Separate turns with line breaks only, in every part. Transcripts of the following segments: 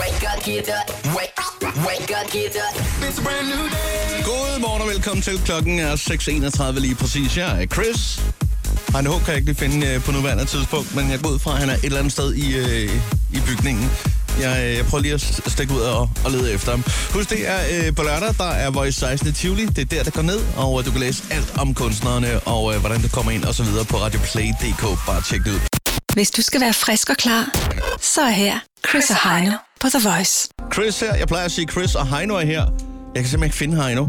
Wake up, get up. Wake, wake up, get up. It's a brand new day.
God morgen og velkommen til. Klokken er 6.31 lige præcis. Jeg er Chris. Han H. kan jeg ikke lige finde øh, på nuværende tidspunkt, men jeg går ud fra, at han er et eller andet sted i, øh, i bygningen. Jeg, øh, jeg prøver lige at s- stikke ud og, og lede efter ham. Husk, det er øh, på lørdag, der er Voice 16 i Tivoli. Det er der, der går ned, og øh, du kan læse alt om kunstnerne, og øh, hvordan du kommer ind og så videre på radioplay.dk. Bare tjek det ud.
Hvis du skal være frisk og klar, så er her Chris og Heino på The Voice.
Chris her. Jeg plejer at sige, Chris og Heino er her. Jeg kan simpelthen ikke finde Heino.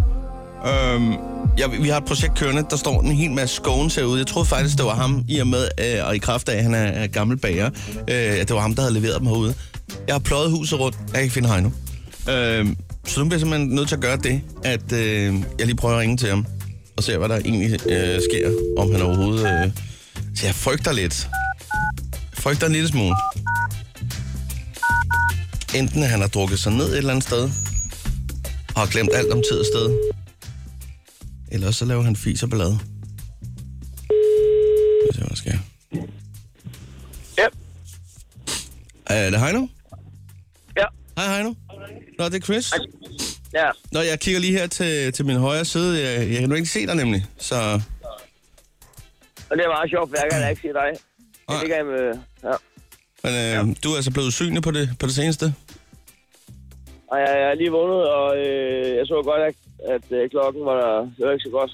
Øhm, jeg, vi har et projekt kørende, der står en hel masse scones herude. Jeg troede faktisk, det var ham, i og med, øh, og i kraft af, at han er, er gammel bager, øh, at det var ham, der havde leveret dem herude. Jeg har pløjet huset rundt. Jeg kan ikke finde Heino. Øhm, så nu bliver jeg simpelthen nødt til at gøre det, at øh, jeg lige prøver at ringe til ham, og se, hvad der egentlig øh, sker, om han overhovedet... Øh. Så jeg frygter lidt. Jeg frygter en lille smule. Enten at han har drukket sig ned et eller andet sted, og har glemt alt om tid og sted, eller også så laver han fis og ballade. Lad os se, hvad der sker.
Ja,
Er det Heino?
ja,
Hej Heino. Nå, det er Chris.
ja.
Nå, jeg kigger lige her til, til min højre side. Jeg, jeg kan nu ikke se dig nemlig, så...
Og det er meget sjovt, for jeg kan ikke se dig.
Nej.
Jeg ligger i med... Ja.
Men øh, du er altså blevet usynlig på det, på det seneste.
Og jeg, jeg er lige vågnet, og øh, jeg så godt, at, at øh, klokken var der. Det var ikke så godt.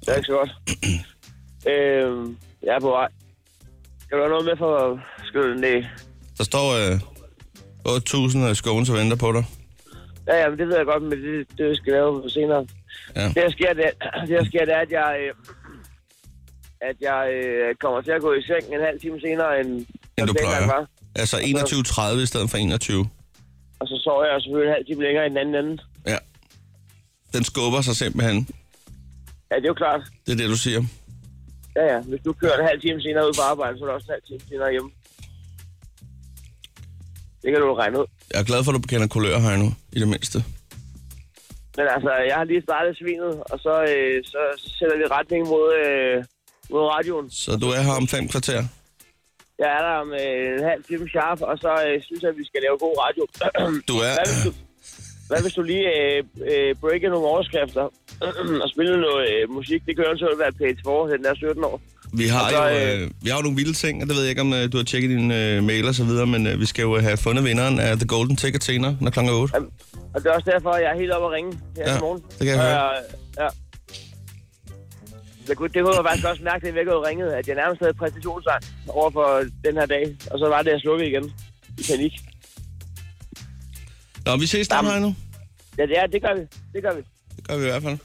Det var ikke så godt. øh, jeg er på vej. Skal du have noget med for skylden? Nej.
Der står øh, 8.000 scones og venter på dig.
Ja, ja, men det ved jeg godt, men det, det skal jeg lave senere.
Ja.
Det, der sker, det, er- det, der sker, det er, at jeg, øh, at jeg øh, kommer til at gå i seng en halv time senere, end,
End du
som dengang
plejer.
var.
Altså 21.30 i stedet for 21.
Og så sover jeg selvfølgelig en halv time længere end den anden ende.
Ja. Den skubber sig simpelthen.
Ja, det er jo klart.
Det er det, du siger.
Ja, ja. Hvis du kører en halv time senere ud på arbejde, så er det også en halv time senere hjemme. Det kan du jo regne ud.
Jeg er glad for, at du bekender kulør, Heino, i det mindste.
Men altså, jeg har lige startet svinet, og så, øh, så sætter vi retning mod, øh, mod radioen.
Så du er her om fem kvarter.
Jeg er der om øh, en halv time sharp, og så øh, synes jeg, at vi skal lave god radio.
Du er... øh,
hvad, hvis du, hvad hvis du lige øh, øh, breaker nogle overskrifter og spiller noget øh, musik? Det kan jo eventuelt være page 4, den er 17 år.
Vi har
Og
jo
så,
øh, vi har jo nogle vilde ting, og det ved jeg ikke, om øh, du har tjekket din øh, mail og så videre, men øh, vi skal jo øh, have fundet vinderen af The Golden Ticket senere, når klokken er 8.
Jamen, Og det er også derfor, at jeg er helt oppe at ringe her
Ja,
i morgen.
det kan jeg høre.
Øh, ja. Det kunne, det kunne jeg faktisk også mærke, da jeg vækkede ringede, at jeg nærmest havde præstationsangst over for den her dag. Og så var det, at jeg slukkede igen i panik.
Nå, vi ses der,
Jamen.
Heino.
Ja, det, er, det gør vi. Det gør vi.
Det gør vi i hvert fald.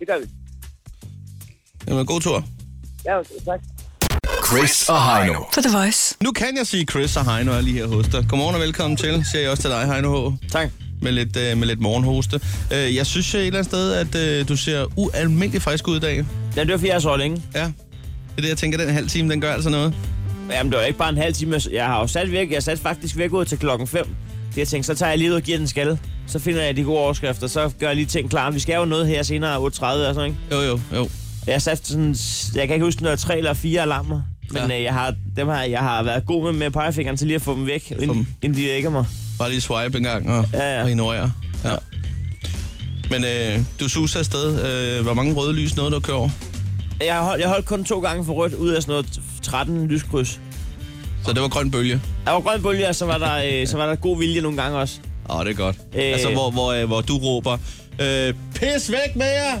Det gør vi.
Jamen, god tur.
Ja, tak.
Chris og Heino.
På The Voice.
Nu kan jeg sige Chris og Heino er lige her hos dig. Godmorgen og velkommen til, siger jeg også til dig, Heino H.
Tak.
Med lidt, øh, med lidt morgenhoste. Øh, jeg synes øh, et eller andet sted, at øh, du ser ualmindelig frisk ud i dag.
Ja, det var fordi, jeg så længe.
Ja. Det er det, jeg tænker, den halv time, den gør altså noget.
Jamen, det var ikke bare en halv time. Jeg har jo sat væk. Jeg sat faktisk væk ud til klokken 5. Det jeg tænkte, så tager jeg lige ud og giver den skalle. Så finder jeg de gode overskrifter, så gør jeg lige ting klar. Vi skal jo noget her senere 8.30 og sådan, ikke?
Jo, jo, jo.
Jeg satte sådan, jeg kan ikke huske, når jeg tre eller fire alarmer. Men
Ja.
ja. øh, jeg, har, dem har, jeg har været god med, med pegefingeren til lige at få dem væk,
dem.
inden, inden de vækker mig.
Bare lige swipe en gang og, ja,
Ja,
ja.
ja.
og ignorere. Ja. Men øh, du suser afsted. Øh, hvor mange røde lys noget, du kører over?
Jeg har holdt, jeg holdt kun to gange for rødt ud af sådan noget 13 lyskryds.
Så det var grøn bølge.
Der var grøn bølge, og så var, der, øh, så var der god vilje nogle gange også.
Åh, oh, det er godt. Øh.
Øh.
Altså, hvor, hvor, øh, hvor du råber, øh, pis væk med jer!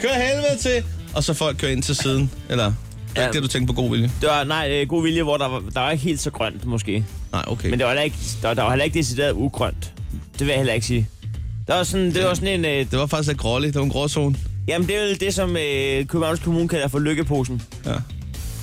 Kør helvede til! Og så folk kører ind til siden. Eller, ja.
Ja.
ikke det, du tænker på god vilje?
Det var, nej, øh, god vilje, hvor der var, der var ikke helt så grønt, måske.
Nej, okay.
Men
Men
det var heller ikke, der, der var heller ikke decideret ugrønt. Det vil jeg heller ikke sige. Der var sådan, det var sådan en... Øh,
det var faktisk lidt gråligt. Det var en gråzone.
jamen, det er jo det, som øh, Københavns Kommune kalder for lykkeposen.
Ja.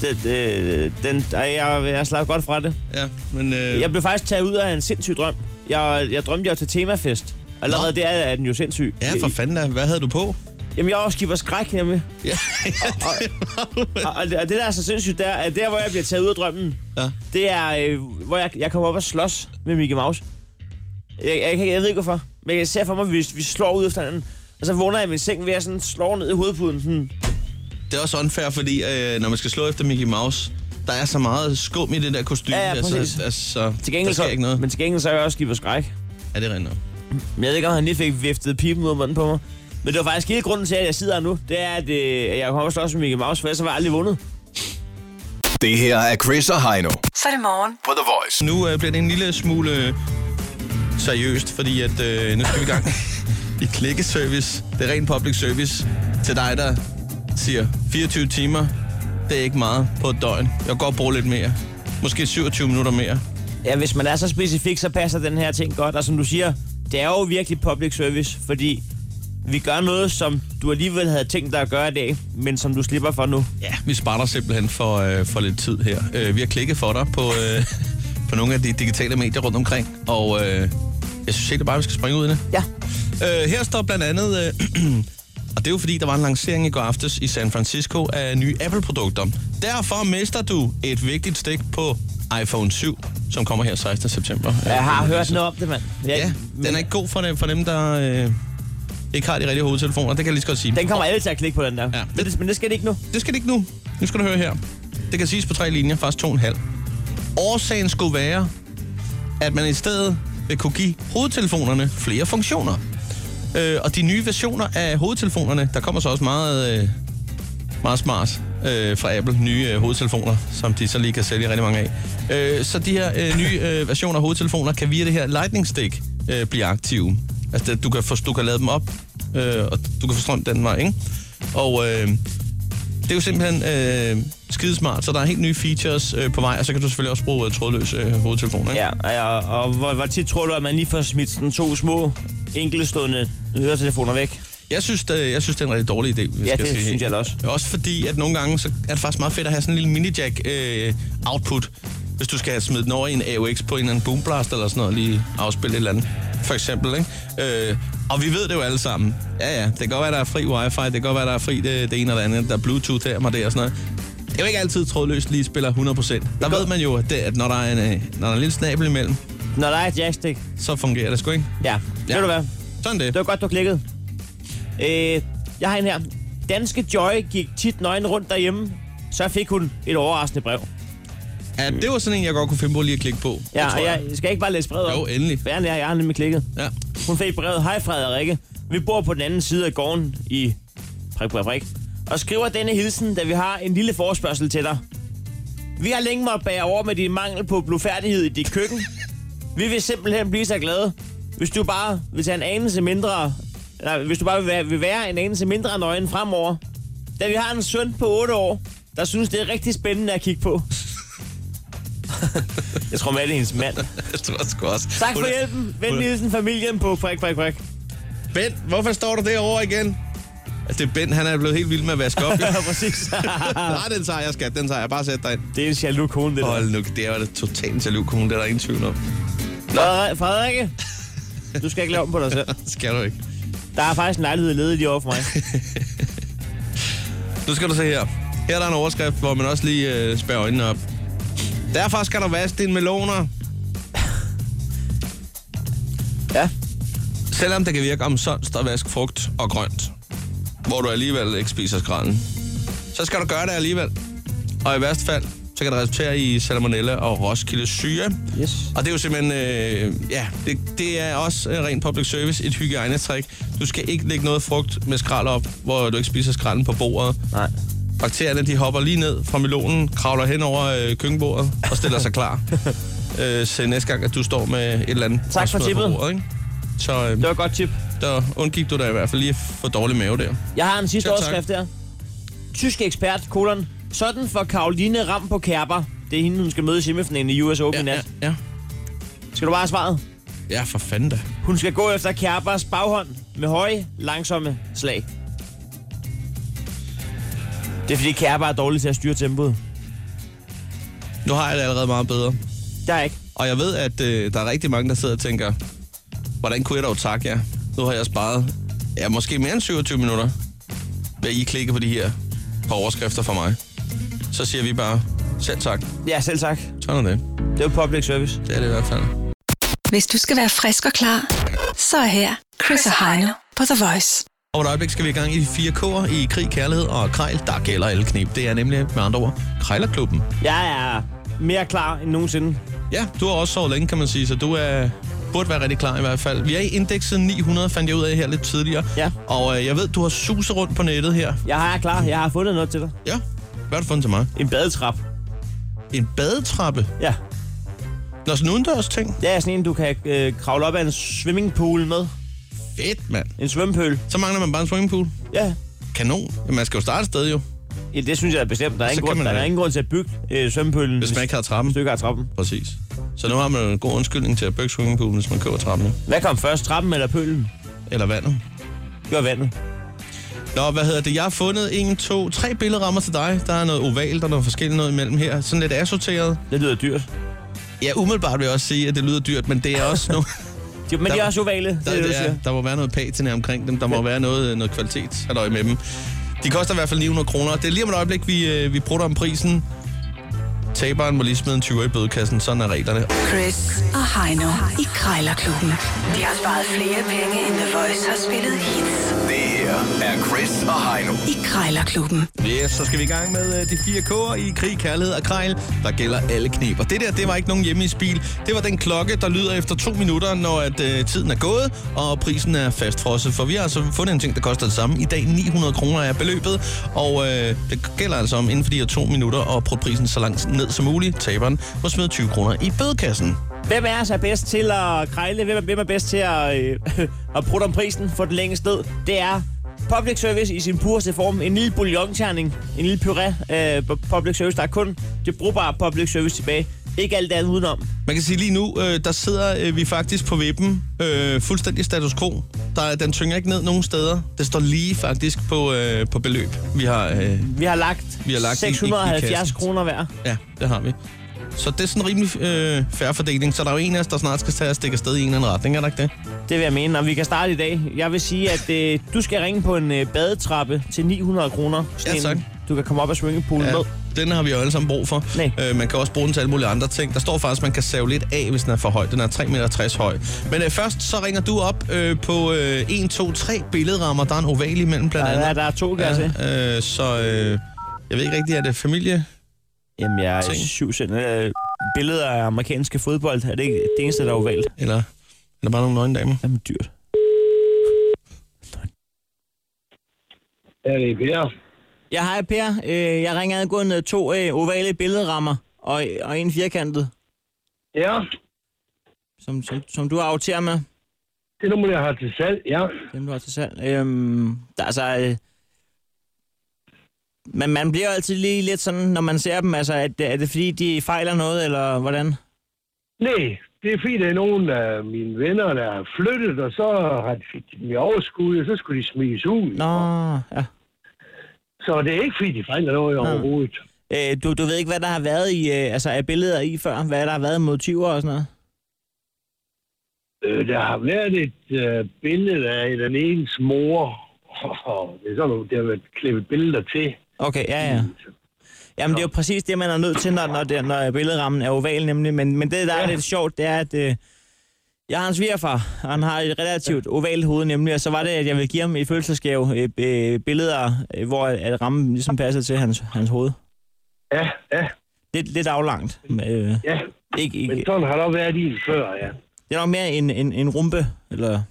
Det, øh, den, ej, jeg, jeg slap godt fra det.
Ja, men... Øh,
Jeg blev faktisk taget ud af en sindssyg drøm. Jeg, jeg drømte, jeg til temafest. Allerede
Nå.
der er den jo sindssyg. Øh,
Ja, for fanden da. Hvad havde du på?
Jamen, jeg er også giver skræk hjemme.
Ja, ja, det
Og, og, det, og det, der er så sindssygt, der, at der, hvor jeg bliver taget ud af drømmen,
ja.
det er, øh, hvor jeg, jeg kommer op og slås med Mickey Mouse. Jeg, jeg, jeg, jeg ved ikke hvorfor, men jeg ser for mig, at vi, vi slår ud efter hinanden. Og så vågner jeg i min seng ved at sådan slå ned i hovedpuden. Sådan.
Det er også unfair, fordi øh, når man skal slå efter Mickey Mouse, Der er så meget skum i det der kostume.
Ja, ja, præcis.
altså, altså,
Til gengæld,
der sker
så,
ikke noget.
Men til gengæld så er jeg også skib skræk.
Ja, det er rent nok.
Men jeg ved ikke, om han lige fik viftet pipen ud af munden på mig. Men det var faktisk hele grunden til, at jeg sidder her nu. Det er, at øh, jeg kommer også med Mickey Mouse, for ellers har jeg aldrig vundet.
Det her er Chris og Heino
Så er det morgen.
på The Voice.
Nu øh, bliver det en lille smule øh, seriøst, fordi at, øh, nu skal vi i gang i klikkeservice. Det er ren public service til dig, der siger 24 timer. Det er ikke meget på et døgn. Jeg kan godt bruge lidt mere. Måske 27 minutter mere.
Ja, hvis man er så specifik, så passer den her ting godt. Og som du siger, det er jo virkelig public service, fordi vi gør noget, som du alligevel havde tænkt dig at gøre i dag, men som du slipper for nu.
Ja, vi sparer dig simpelthen for, øh, for lidt tid her. Øh, vi har klikket for dig på, øh, på nogle af de digitale medier rundt omkring, og øh, jeg synes helt bare, vi skal springe ud i det.
Ja.
Øh, her står blandt andet, øh, og det er jo fordi, der var en lancering i går aftes i San Francisco af nye Apple-produkter. Derfor mister du et vigtigt stik på iPhone 7, som kommer her 16. september.
Jeg har
Øh,
hørt
så-
noget om det, mand. Jeg,
Ja, den er ikke god for dem, for dem der øh, ikke har de rigtige hovedtelefoner. Det kan jeg lige så godt sige.
Den kommer alle til at klikke på, den der.
Ja.
Men, det, men det skal det ikke nu.
Det skal det ikke nu. Nu skal du høre her. Det kan siges på tre linjer, faktisk to og en halv. Årsagen skulle være, at man i stedet vil kunne give hovedtelefonerne flere funktioner. Øh, og de nye versioner af hovedtelefonerne, der kommer så også meget, øh, meget smart øh, fra Apple, nye øh, hovedtelefoner, som de så lige kan sælge rigtig mange af. Øh, så de her øh, nye øh, versioner af hovedtelefoner kan via det her Lightning Stick øh, blive aktive. Altså det, du kan, få, du kan lade dem op, øh, og du kan få strøm den vej, ikke? Og øh, det er jo simpelthen øh, skidesmart, så der er helt nye features øh, på vej, og så kan du selvfølgelig også bruge øh, trådløs øh, hovedtelefon, ikke?
Ja, og, og hvor, hvor tit tror du, at man lige får smidt sådan to små, enkeltstående høretelefoner væk?
Jeg synes, det, jeg synes, det er en rigtig dårlig idé. hvis
Ja,
jeg
det
skal sige.
synes jeg da også.
Også fordi, at nogle gange så er det faktisk meget fedt at have sådan en lille mini-jack-output, øh, output, hvis du skal smide den over i en AUX på en eller anden boomblast eller sådan noget, lige afspille et eller andet, for eksempel. Ikke? Øh, og vi ved det jo alle sammen. Ja, ja, det kan godt være, der er fri wifi, det kan godt være, der er fri det, det ene og det andet, der er bluetooth her og der og sådan noget. Det er jo ikke altid trådløst lige spiller 100%. Der ved man jo, at, det, at når, der er en, øh, når der er en lille snabel imellem,
Når der er et jackstick.
så fungerer det sgu ikke.
Ja, ja.
Ja.
ved du hvad?
Sådan det.
Det var godt, du klikkede. Øh, jeg har en her. Danske Joy gik tit nøgen rundt derhjemme. Så fik hun et overraskende brev.
Ja, det var sådan en, jeg godt kunne finde på lige at klikke på.
Ja,
Det tror
og jeg skal ikke bare læse brevet op.
Jo, endelig.
For jeg, er nær, jeg har nemlig klikket.
Ja.
Hun fik brevet. Hej Frederikke. Vi bor på den anden side af gården i prik, prik, prik. Og skriver denne hilsen, da vi har en lille forspørgsel til dig. Vi har længe måttet bære over med din mangel på blufærdighed i dit køkken. Vi vil simpelthen blive så glade, hvis du bare vil tage en anelse mindre... Nej, hvis du bare vil være, vil være en anelse mindre nøgen fremover. Da vi har en søn på 8 år, der synes, det er rigtig spændende at kigge på. Jeg tror, Matt er hendes mand.
Jeg tror sgu også.
Tak
Hun
for
er-
hjælpen. Vend
hun er-
Nielsen, familien på prik, prik, prik.
Bent, hvorfor står du derovre igen? Altså, det er Bent, han er blevet helt vild med at vaske op. jo.
Ja, præcis.
Nej, den tager jeg, skat. Den tager jeg. Bare sæt dig ind.
det er en jaloux kone, det der.
Hold nu, det er jo totalt jaloux kone. Det er der ingen tvivl om.
Frederik- Frederikke, du skal ikke lave om på dig selv.
Skal du ikke.
Der er faktisk en lejlighed ledig lige over for mig.
Nu skal du se her. Her er der en overskrift, hvor man også lige øh, spærrer øjnene op. Derfor skal du vaske dine meloner.
Ja.
Selvom det kan virke omsonst at vaske frugt og grønt, hvor du alligevel ikke spiser skralden, så skal du gøre det alligevel. Og i værste fald, så kan det resultere i salmonella og roskilde syge.
Yes.
Og det er jo simpelthen, øh, ja, det, det er også øh, rent public service, et hygiejnetrik. Du skal ikke lægge noget frugt med skrald op, hvor du ikke spiser skralden på bordet.
Nej.
Bakterierne, de hopper lige ned fra melonen, kravler hen over øh, køkkenbordet og stiller sig klar. øh, så næste gang, at du står med et eller andet...
for
opsmøret på
tippet.
bordet, ikke? Så øh,
Det var et godt tip.
der undgik du da i hvert fald lige at få dårlig mave der.
Jeg har en sidste
Ja, tak.
overskrift der. Tysk ekspert, kolon. Sådan for Karoline Ram på Kerber. Det er hende, hun skal møde i semifinalen i US Open i
ja,
nat.
ja.
Skal du bare have svaret?
ja, for fanden da.
Hun skal gå efter Kerbers baghånd med høje, langsomme slag. Det er fordi Kerber er dårlig til at styre tempoet.
Nu har jeg det allerede meget bedre.
Der er ikke.
Og jeg ved, at øh, der er rigtig mange, der sidder og tænker, hvordan kunne jeg dog takke jer? Nu har jeg sparet, ja, måske mere end 27 minutter, ved at I klikke på de her par overskrifter for mig. Så siger vi bare, selv tak.
Ja, selv tak.
Sådan er det.
Det er jo public service.
Det er det i hvert fald.
Hvis du skal være frisk og klar, så er her Chris og Heino på The Voice.
Og om et øjeblik skal vi i gang i de fire K'er i krig, kærlighed og krejl. Der gælder alle knep. Det er nemlig med andre ord Krejlerklubben.
Jeg er mere klar end nogensinde.
Ja, du har også sovet længe, kan man sige, så du er, burde være rigtig klar i hvert fald. Vi er i indekset 900, fandt jeg ud af her lidt tidligere.
Ja.
Og øh, jeg ved, du har suset rundt på nettet her.
Jeg er klar. Jeg har fundet noget til dig.
Ja. Hvad har du fundet til mig?
En badetrap.
En badetrappe.
Ja.
Nå, sådan en udendørs ting.
Det er sådan en, du kan øh, kravle op af en swimmingpool med.
Fedt, mand.
En svømmepøl.
Så mangler man bare en swimmingpool.
Ja.
Kanon. Jamen, man skal jo starte et sted jo,
ja det synes jeg er bestemt. Der er,
Så
ingen
kan
grund,
man
der er
da.
ingen grund til at bygge øh, svømmepølen,
hvis man ikke har
et
trappen.
stykke af trappen.
Præcis. Så nu har man jo en god undskyldning til at bygge swimmingpoolen, hvis man køber trappen. jo.
Hvad kom først, trappen eller pølen?
Eller vandet.
Det var vandet.
Nå, hvad hedder det? Jeg har fundet en, to, tre billedrammer til dig. Der er noget ovalt og noget forskelligt noget imellem her. Sådan lidt assorteret.
Det lyder dyrt.
Ja, umiddelbart vil jeg også sige, at det lyder dyrt, men det er også nogle...
De, men
Der-
de er også ovale, det
Der,
er det, du
det er,
siger.
der må være noget patina omkring dem. Der må være noget, noget kvalitet halløj med dem. De koster i hvert fald 900 kroner. Det er lige om et øjeblik, vi, øh, vi bruger om prisen. Taberen må lige smide en 20 i bødekassen. Sådan er reglerne.
Chris og Heino i Krejlerklubben. De har sparet flere penge, end The Voice har spillet hits
Det her er Chris og Heino.
i Krejlerklubben.
Yes, så skal vi i gang med øh, de fire K'er i krig, kærlighed og krejl. Der gælder alle knep. Og det der, det var ikke nogen hjemme i spil. Det var den klokke, der lyder efter to minutter, når at, øh, tiden er gået, og prisen er fastfrosset. For vi har altså fundet en ting, der koster det samme. I dag 900 kroner er beløbet, og øh, det gælder altså om inden for de her to minutter at putte prisen så langt ned som muligt. Taberen må smide 20 kroner i bødekassen.
Hvem er så bedst til at krejle? Hvem er, hvem er bedst til at, øh, at bruge om prisen for den længste ned? Det er public service i sin pureste form. En lille bouillonterning, en lille puré øh, på public service. Der er kun det brugbare public service tilbage. Ikke alt det andet udenom.
Man kan sige lige nu, øh, der sidder øh, vi faktisk på vippen øh, fuldstændig status quo. Der, den tynger ikke ned nogen steder. Det står lige faktisk på, øh, på beløb. Vi har, øh,
Vi har lagt,
Vi har lagt i- i- i
670
kassen.
kroner hver.
ja, det har vi. Så det er sådan en rimelig øh, færre fordeling. Så der er jo en af os, der snart skal tage og stikke afsted i en eller anden retning, er der ikke det?
Det vil jeg mene, og vi kan starte i dag. Jeg vil sige, at øh, du skal ringe på en øh, badetrappe til 900 kroner. Sådan
Ja,
en,
tak.
Du kan komme op og svinge poolen ja. med.
den har vi jo alle sammen brug for.
Nej.
Øh, man kan også bruge den til alle mulige andre ting. Der står faktisk, at man kan save lidt af, hvis den er for høj. Den er 3,60 meter høj. Men øh, først så ringer du op øh, på øh, 1, 2, 3 billedrammer. Der er en oval imellem blandt andet.
Der, er- der er to, kan ja. jeg se.
Ja, øh, så øh, jeg ved ikke rigtig, er det familie?
Jamen, jeg er
Ting.
syv cent. Øh, billeder af amerikanske fodbold, er det ikke det eneste, der er ovalt?
Eller er der bare nogle nøgne damer?
Jamen, dyrt.
Ja, det er Per.
Ja, hej Per. Øh, jeg ringer angående to øh, ovale billedrammer og, og en firkantet,
Ja,
som, som, som du har afteret med.
det er nummer, jeg har til salg, ja.
Dem, du har til salg. Øhm, der er altså... Øh, men man bliver jo altid lige lidt sådan, når man ser dem, altså, er det, er det fordi, de fejler noget, eller hvordan?
Nej, det er fordi, der er nogen af mine venner, der er flyttet, og så har de fik de dem i overskud, og så skulle de smides ud.
Nå, ja.
Så det er ikke fordi, de fejler noget overhovedet.
Øh, du, du ved ikke, hvad der har været i, øh, altså, af billeder i før? Hvad der har været af motiver og sådan noget?
Øh, der har været et øh, billede af den enes mor, og det er sådan, nogle- der har været klippet billeder til.
Okay, ja, ja.
Mm.
Jamen, det er jo præcis det, man er nødt til, når, når, det, når billedrammen er oval, nemlig. Men, men det, der er lidt sjovt, det er, at øh, jeg har en svigerfar, og han har et relativt ovalt hoved, nemlig. Og så var det, at jeg ville give ham i fødselsgave øh, øh, billeder, øh, hvor at rammen ligesom passede til hans, hans hoved.
Ja, ja,
Lidt, lidt aflangt. men, Øh,
ja.
ikke,
Men
ikke,
sådan har der været i før, ja.
det er nok mere en, en, en rumpe, eller...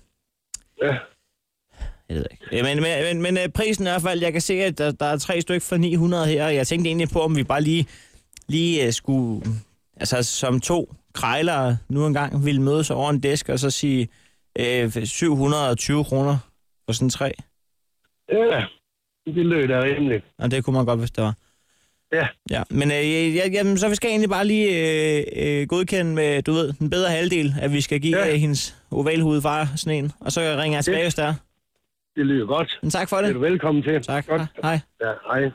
Ja,
Jeg ved ikke. Ja, men, men, men, men øh, prisen er i hvert fald, jeg kan se, at der, der er tre stykker for 900 her, og jeg tænkte egentlig på, om vi bare lige, lige øh, skulle, altså som to krejlere nu engang, ville mødes over en disk og så sige øh, 720 kroner for sådan tre.
ja. det lød da rimeligt.
Og det kunne man godt, hvis det var.
Ja.
Ja, men øh, ja, jamen, så vi skal egentlig bare lige øh, øh, godkende med, du ved, den bedre halvdel, at vi skal give
Ja.
ja. øh, hendes ovalhudfar sådan en, og så ringer jeg tilbage, hvis der.
Det lyder godt.
Men tak for
Det er
det.
du velkommen til.
Tak.
Godt.
Hej.
Ja, hej.
Nej!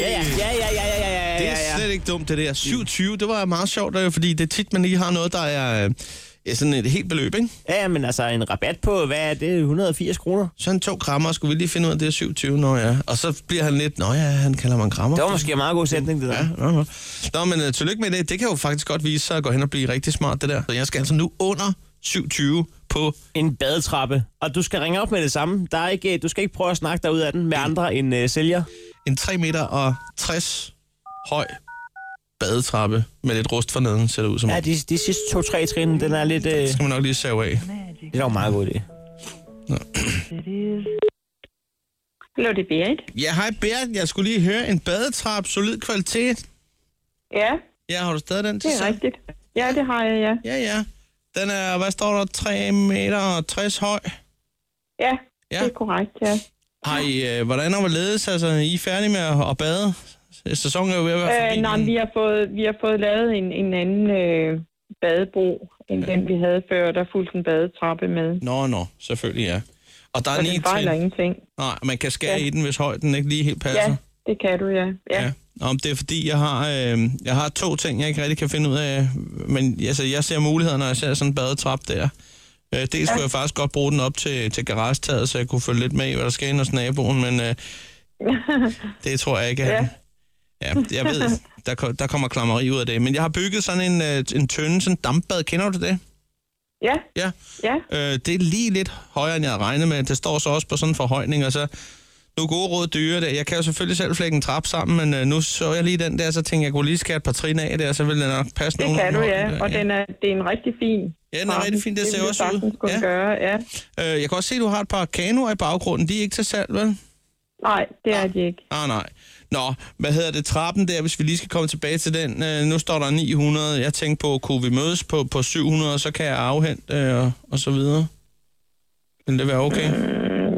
Ja, ja, ja, ja, ja, ja, ja, ja,
Det er
ja.
slet ikke dumt, det der. 27, det var meget sjovt, øh, fordi det er tit, man lige har noget, der er øh, ja, sådan et helt beløb, ikke?
Ja, men altså en rabat på, hvad er det, 180 kroner?
Så han tog krammer, skulle vi lige finde ud af, det er 27, nå ja. Og så bliver han lidt, nå ja, han kalder mig en krammer.
Det var måske en meget god sætning, det der.
Ja, nå, øh, nå. nå, men uh, tillykke med det. Det kan jo faktisk godt vise sig at gå hen og blive rigtig smart, det der. Så jeg skal altså nu under 7.20 på...
en badetrappe, og du skal ringe op med det samme. Der er ikke, øh, du skal ikke prøve at snakke dig ud af den med andre end øh, sælger.
en 3 meter og 60 høj badetrappe med lidt rust for neden, ser det ud som.
Ja,
Ja,
de, de sidste to-tre trin, den er lidt... Øh,
det
det
skal man nok lige save af.
er nok en meget god idé.
Hallo, det er Berit.
Ja, hej Bert. Jeg skulle lige høre en badetrappe, solid kvalitet.
Ja,
Ja, har du stadig den til
det er
salg?
rigtigt. Ja, det har jeg, ja.
Ja, ja. Den er, hvad står der, 3 meter og 60 høj.
Ja,
Ja.
det er korrekt, ja.
Har I, øh, hvordan er hvorledes? Altså, I er færdige med at, at bade? Sæsonen er jo ved at være forbi.
Øh, nej,
men-
vi har fået, vi har fået lavet en, en anden øh, badebro, end den vi havde før, der fulgte en badetrappe med.
Nå, nå, selvfølgelig, ja. Og der er
Og
en
den
en
fejler
til.
ingenting.
Nej, man kan skære
Ja.
i den, hvis højden ikke lige helt passer.
Ja, det kan du, ja. ja.
Ja. Nå, men det er fordi, jeg har, øh, jeg har to ting, jeg ikke rigtig kan finde ud af. Men altså, jeg ser muligheder, når jeg ser sådan en badetrap der. Øh, dels ja. kunne jeg faktisk godt bruge den op til, til garagetaget, så jeg kunne følge lidt med i, hvad der sker inde hos naboen, men øh, det tror jeg ikke. Ja.
Ja.
ja, jeg ved, der, ko- der kommer klammeri ud af det. Men jeg har bygget sådan en, øh, en tønde, sådan en dampbad. Kender du det?
Ja,
Ja.
ja.
Øh, det er lige lidt højere, end jeg havde regnet med. Det står så også på sådan en forhøjning, og så nu er gode råd dyre det. Jeg kan jo selvfølgelig selv flække en trap sammen, men øh, nu så jeg lige den der, så tænkte jeg, jeg kunne lige skære et par trin af der, så ville den nok passe Øh,
det kan du, ja. Og
ja.
den er, det er en rigtig fin.
Ja, den er
trappe.
rigtig fin, det ser
ville
også
jeg
ud.
sagtens kunne
Ja.
gøre, ja.
Øh, jeg kan også se, at du har et par kanoer i baggrunden. De er ikke til salg, vel?
Nej, det er de ikke.
Ah, nej. Nå, hvad hedder det? Trappen der, hvis vi lige skal komme tilbage til den. Øh, nu står der 900. Jeg tænkte på, kunne vi mødes på, på 700, så kan jeg afhente øh, og, og så videre. Vil det være okay?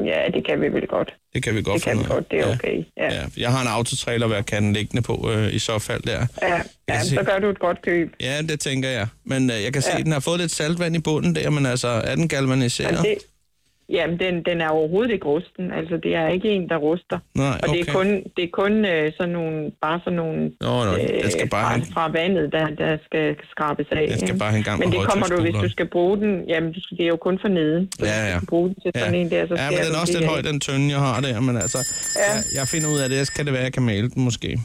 Ja, det kan vi vel godt.
Det kan vi godt
Øh, Det kan
finde
vi
ud af.
godt, det er
Ja.
okay. Ja,
Ja, jeg har en autotrailer, hvor jeg kan den liggende på øh, i så fald der.
ja. ja
se-
så gør du et godt køb.
Ja, det tænker jeg. Men øh, jeg kan se, at den har fået lidt saltvand i bunden der, men altså, er den galvaniseret?
Ja. Det, jamen, den, den er overhovedet ikke rusten. Altså, det er ikke en, der ruster.
Nej,
Og det
okay.
er kun, det er kun øh, sådan nogle, bare sådan nogle øh,
Nå, nå, den skal bare
fra,
have-
fra vandet, der, der skal skrabes af.
Den skal
ikke?
bare have en gang
Men
med
det kommer du, hvis
højtryksspruler.
du skal bruge den. Jamen, du skal, det er jo kun for neden. Så
Ja,
hvis
ja.
Du skal bruge den til
Ja.
sådan en der, så
ja, men
skærer
den er
du
også
det
lidt
af.
høj, den tønde, jeg har der, men altså, ja. jeg, jeg finder ud af det, så kan det være, jeg kan male den måske.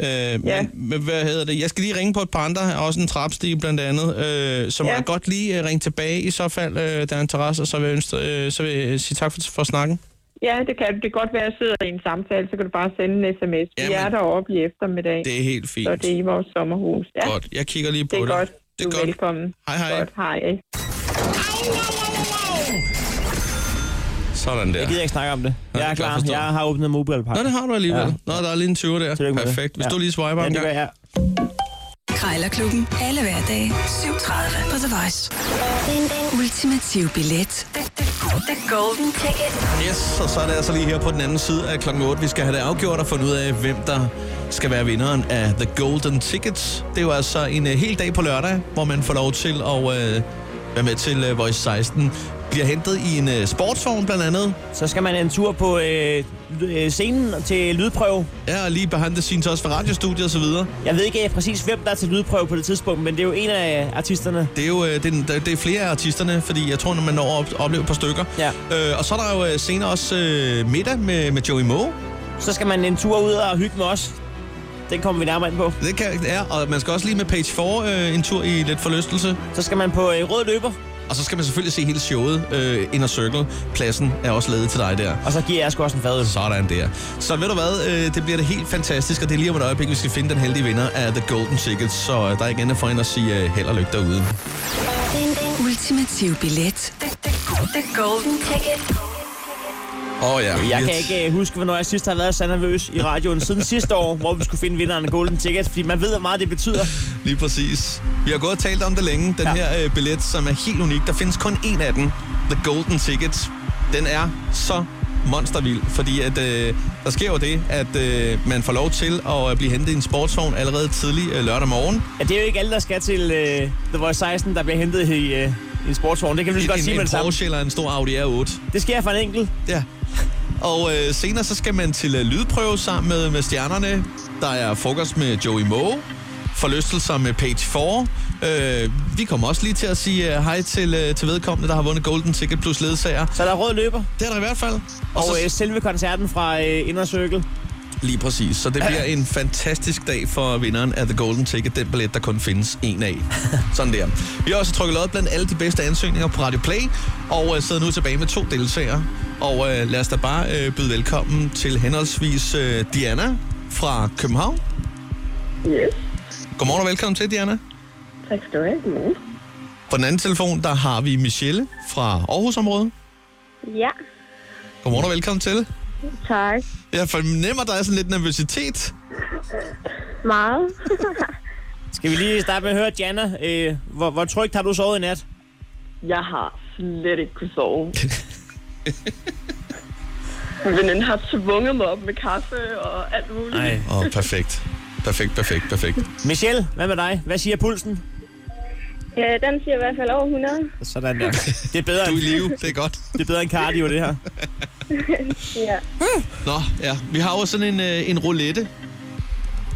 Øh, ja. men, men hvad hedder det? Jeg skal lige ringe på et par andre, også en trapstige blandt andet, øh, så må
Ja.
jeg godt lige øh, ringe tilbage i så fald, øh, der er en terrasse, og så vil jeg, ønske, øh, så vil jeg sige tak for, for snakken.
Ja, det kan du. Det kan godt være, at jeg sidder i en samtale, så kan du bare sende en sms. Vi
Jamen,
er deroppe i eftermiddag,
Det er helt fint.
så det er i vores sommerhus. Ja,
Godt, jeg kigger lige på
det er godt.
Det
Du
er
er
godt.
velkommen.
Hej, hej.
Godt, hej.
Sådan der.
Jeg gider ikke snakke om det. Jeg er
kan jeg
klar.
forstå.
Jeg har åbnet mobile
Nå, det har du alligevel. Ja.
Ja.
Nå, der er lige en 20 der. Perfekt. Hvis ja. du lige swiper
ja,
en
det gør
gang.
jeg.
Krejlerklubben. Alle hverdage 7.30 på The Voice. Den ultimative billet. The, the, the golden ticket.
Yes, og så er det altså lige her på den anden side af klokken 8. Vi skal have det afgjort og fundet ud af, hvem der skal være vinderen af The Golden Tickets. Det er jo altså en uh, hel dag på lørdag, hvor man får lov til at uh, være med til uh, Voice 16. Bliver hentet i en uh, sportsvogn blandt andet.
Så skal man en tur på øh, lyd- øh, scenen til lydprøve.
Ja, og lige behind the scenes også fra radiostudiet og så videre.
Jeg ved ikke øh, præcis, hvem der er til lydprøve på det tidspunkt, men det er jo en af artisterne.
Det er jo øh, det er, den- der- det er flere af artisterne, fordi jeg tror, når man når at op- opleve et par stykker.
Ja.
Øh, og så er der jo øh, senere også øh, middag med, med Joey Moe.
Så skal man en tur ud og hygge med os. Den kommer vi nærmere ind på.
Det kan, ja, og man skal også lige med Page 4 øh, en tur i lidt forlystelse.
Så skal man på øh, rød løber,
Og så skal man selvfølgelig se hele showet. Øh, Inner Circle, pladsen er også ledet til dig der.
og så giver jeg sgu også en fadøl.
Sådan der. Så ved du hvad, øh, det bliver det helt fantastisk, og det er lige om et øjeblik, vi skal finde den heldige vinder af The Golden Tickets. Så øh, der er ikke andet for end at sige øh, held og lykke derude.
Den ultimative billet. The, the, the golden ticket.
Åh oh, ja.
Jeg kan ikke øh, huske, hvornår jeg sidst har været så nervøs i radioen siden sidste år, hvor vi skulle finde vinderen af Golden Ticket, fordi man ved, hvor meget det betyder.
Lige præcis. Vi har gået og talt om det længe. Den ja.
Ja.
her øh, billet, som er helt unik. Der findes kun én af den. The Golden Ticket. Den er så monstervild, fordi at, øh, der sker jo det, at øh, man får lov til at øh, blive hentet i en sportsvogn allerede tidlig øh, lørdag morgen.
Ja, det er jo ikke alle, der skal til øh, The Voice 16, der bliver hentet i, øh, i en sportsvogn. Det kan vi lige så
En,
godt sige
en,
med
en
det samme.
Porsche eller en stor Audi R8.
Det sker for en enkelt.
Ja. Og øh, senere så skal man til øh, lydprøve sammen med, med stjernerne. Der er frokost med Joey Moe. Forlystelser med Page 4. Øh, vi kommer også lige til at sige øh, hej til, øh, til vedkommende, der har vundet Golden Ticket plus ledsager.
Så er der rød løber,
Det er der i hvert fald. Og,
og,
og så
øh, selve koncerten fra øh, Inner Circle.
Lige præcis. Så det bliver en fantastisk dag for vinderen af The Golden Ticket, den billet, der kun findes en af. Sådan der. Vi har også trykket lod blandt alle de bedste ansøgninger på Radio Play, og øh, sidder nu tilbage med to deltagere. Og øh, lad os da bare øh, byde velkommen til henholdsvis øh, Diana fra København.
Yes.
Godmorgen og velkommen til, Diana.
Tak skal du have. Godmorgen.
På den anden telefon, der har vi Michelle fra Aarhusområdet.
Ja,
Godmorgen og velkommen til.
tak.
Jeg fornemmer, der er sådan lidt nervøsitet.
Meget.
Skal vi lige starte med at høre, Jana, øh, hvor, hvor trygt har du sovet i nat?
Jeg har slet ikke kunne sove. Min veninde har tvunget mig op med kaffe og alt muligt.
Nej.
Åh, oh, perfekt. Perfekt, perfekt, perfekt.
Michelle, hvad med dig? Hvad siger pulsen?
Ja, den siger i hvert fald over 100.
Sådan der. Det er bedre,
Du er i
end,
live, det er godt.
det er bedre end cardio, det her.
Ja.
Nå, ja. Vi har jo sådan en, øh, en roulette,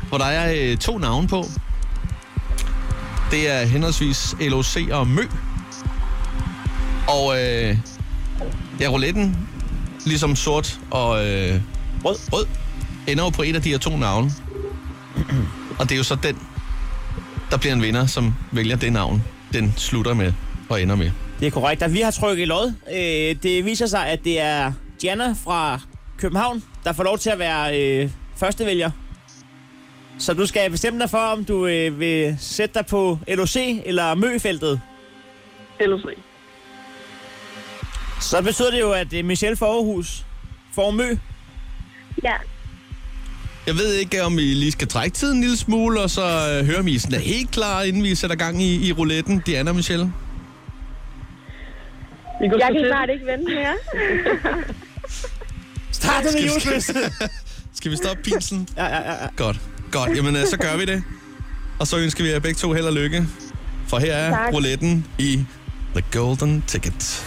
hvor der er øh, to navne på. Det er henholdsvis LOC og Mø. Og øh, ja, rouletten, ligesom sort og øh,
Rød.
rød, ender jo på et af de her to navne. og det er jo så den, der bliver en vinder, som vælger det navn, den slutter med og ender med.
Det er korrekt, og vi har trykket lod. Øh, det viser sig, at det er Jana fra København, der får lov til at være øh, førstevælger. Så du skal bestemme dig for, om du øh, vil sætte dig på LOC eller Mø-feltet.
LOC.
Så betyder det jo, at øh, Michelle fra Aarhus får Mø.
Ja.
Jeg ved ikke, om I lige skal trække tiden en lille smule, og så øh, høre, om I sådan er helt klar, inden vi sætter gang i, i rouletten. Diana og Michelle.
Vi går
Jeg kan
til-
snart ikke vente mere.
Start med Jules.
Skal vi stoppe pinsen?
ja, ja, ja, ja.
Godt. Godt, jamen øh, så gør vi det. Og så ønsker vi jer begge to held og lykke. For her er
Tak.
rouletten i The Golden Ticket.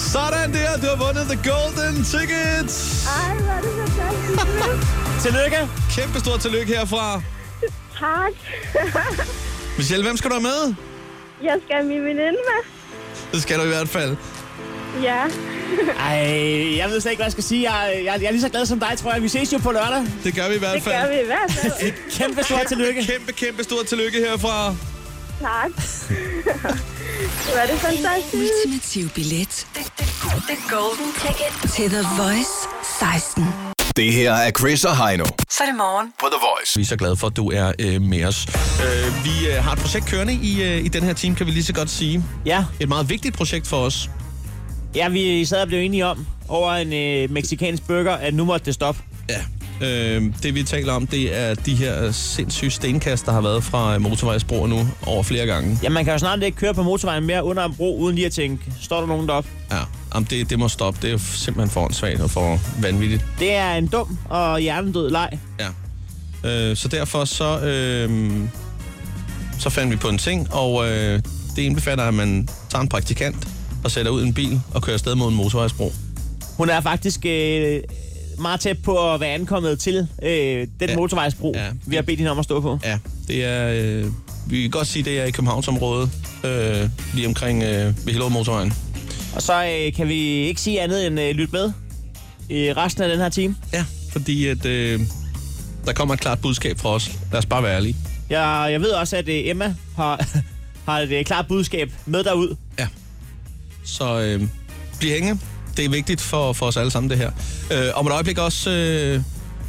Sådan der, du har vundet The Golden Ticket.
Ej, hvor er det fantastisk.
Tillykke.
Kæmpe stort tillykke herfra.
Tak.
Michelle, hvem skal du have med?
Jeg skal have min veninde med.
Det skal du i hvert fald.
Ja.
Ej, jeg ved slet ikke, hvad jeg skal sige. Jeg, jeg, jeg er lige så glad som dig, tror jeg. Vi ses jo på lørdag.
Det gør vi i hvert
Det gør
fald.
vi i hvert fald.
Kæmpe stort tillykke.
Kæmpe, kæmpe stort tillykke herfra.
Tak. Hvor er det fantastisk.
Ultimativ billet. The, the, the golden ticket. Til The Voice 16.
Det her er Chris og Heino
Så er det morgen.
på The Voice.
Vi er så glade for, at du er øh, med os. Øh, vi øh, har et projekt kørende i, øh, i den her time, kan vi lige så godt sige.
Ja,
Et meget vigtigt projekt for os.
ja vi sad og blev enige om over en øh, meksikansk burger, at nu måtte det stoppe.
Ja. Øh, det vi taler om, det er de her øh, sindssyge stenkast, der har været fra øh, motorvejsbroer nu over flere gange.
Ja, man kan jo snart ikke køre på motorvejen mere under en bro, uden lige at tænke, står der nogen deroppe?
Ja, jamen det, det må stoppe. Det er jo simpelthen for åndssvagt og for vanvittigt.
Det er en dum og hjernedød leg.
Ja. Øh, så derfor så, øh, så fandt vi på en ting, og øh, det indbefatter, at man tager en praktikant og sætter ud i en bil og kører afsted mod en motorvejsbro.
Hun er faktisk øh, meget tæt på at være ankommet til øh, den
Ja.
ja. motorvejsbro,
Ja.
ja. vi har bedt hende om at stå på.
Ja, det er... Øh, vi kan godt sige, det er i Københavnsområdet, øh, lige omkring øh, ved Hillerød Motorvejen.
Og så øh, kan vi ikke sige andet end øh, lyt med i resten af den her time.
Ja, fordi at, øh, der kommer et klart budskab fra os. Lad os bare være ærlige.
Jeg, jeg ved også, at øh, Emma har, har et øh, klart budskab med derud.
Ja. Så øh, bliv hængende. Det er vigtigt for, for os alle sammen, det her. Øh, om et øjeblik også øh,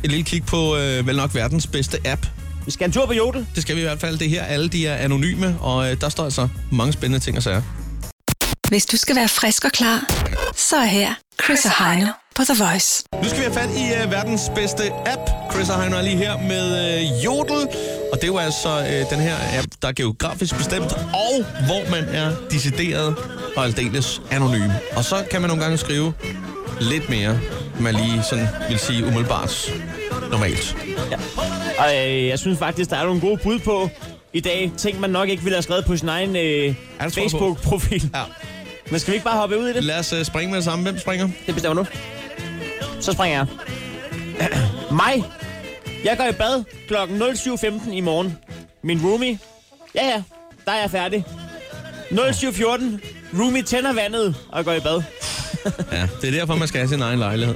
et lille kig på øh, vel nok verdens bedste app.
Vi skal en tur på Jodel.
Det skal vi i hvert fald. Det her, alle de er anonyme, og øh, der står altså mange spændende ting og sager.
Hvis du skal være frisk og klar, så er her Chris og Heino på The Voice.
øh, Nu skal vi have fat i uh, verdens bedste app. Chris og Heino er lige her med uh, Jodel. Og det er jo altså øh, den her app, der er geografisk bestemt, og hvor man er decideret og aldeles anonym. Og så kan man nogle gange skrive lidt mere, end man lige sådan vil sige umiddelbart normalt.
Og øh, jeg synes faktisk, der er nogle gode bud på i dag. Ting, man nok ikke ville have skrevet på sin egen øh,
jeg på.
Facebook-profil.
Ja.
Men skal vi ikke bare hoppe ud i det?
Lad os øh, springe med det samme. Hvem springer?
Det bestemmer du. Så springer jeg. Mig. Jeg går i bad kl. 07.15 i morgen. Min roomie. Ja, ja. Der er jeg færdig. 07.14. Roomie tænder vandet og går i bad.
Ja, det er derfor, man skal have sin egen lejlighed.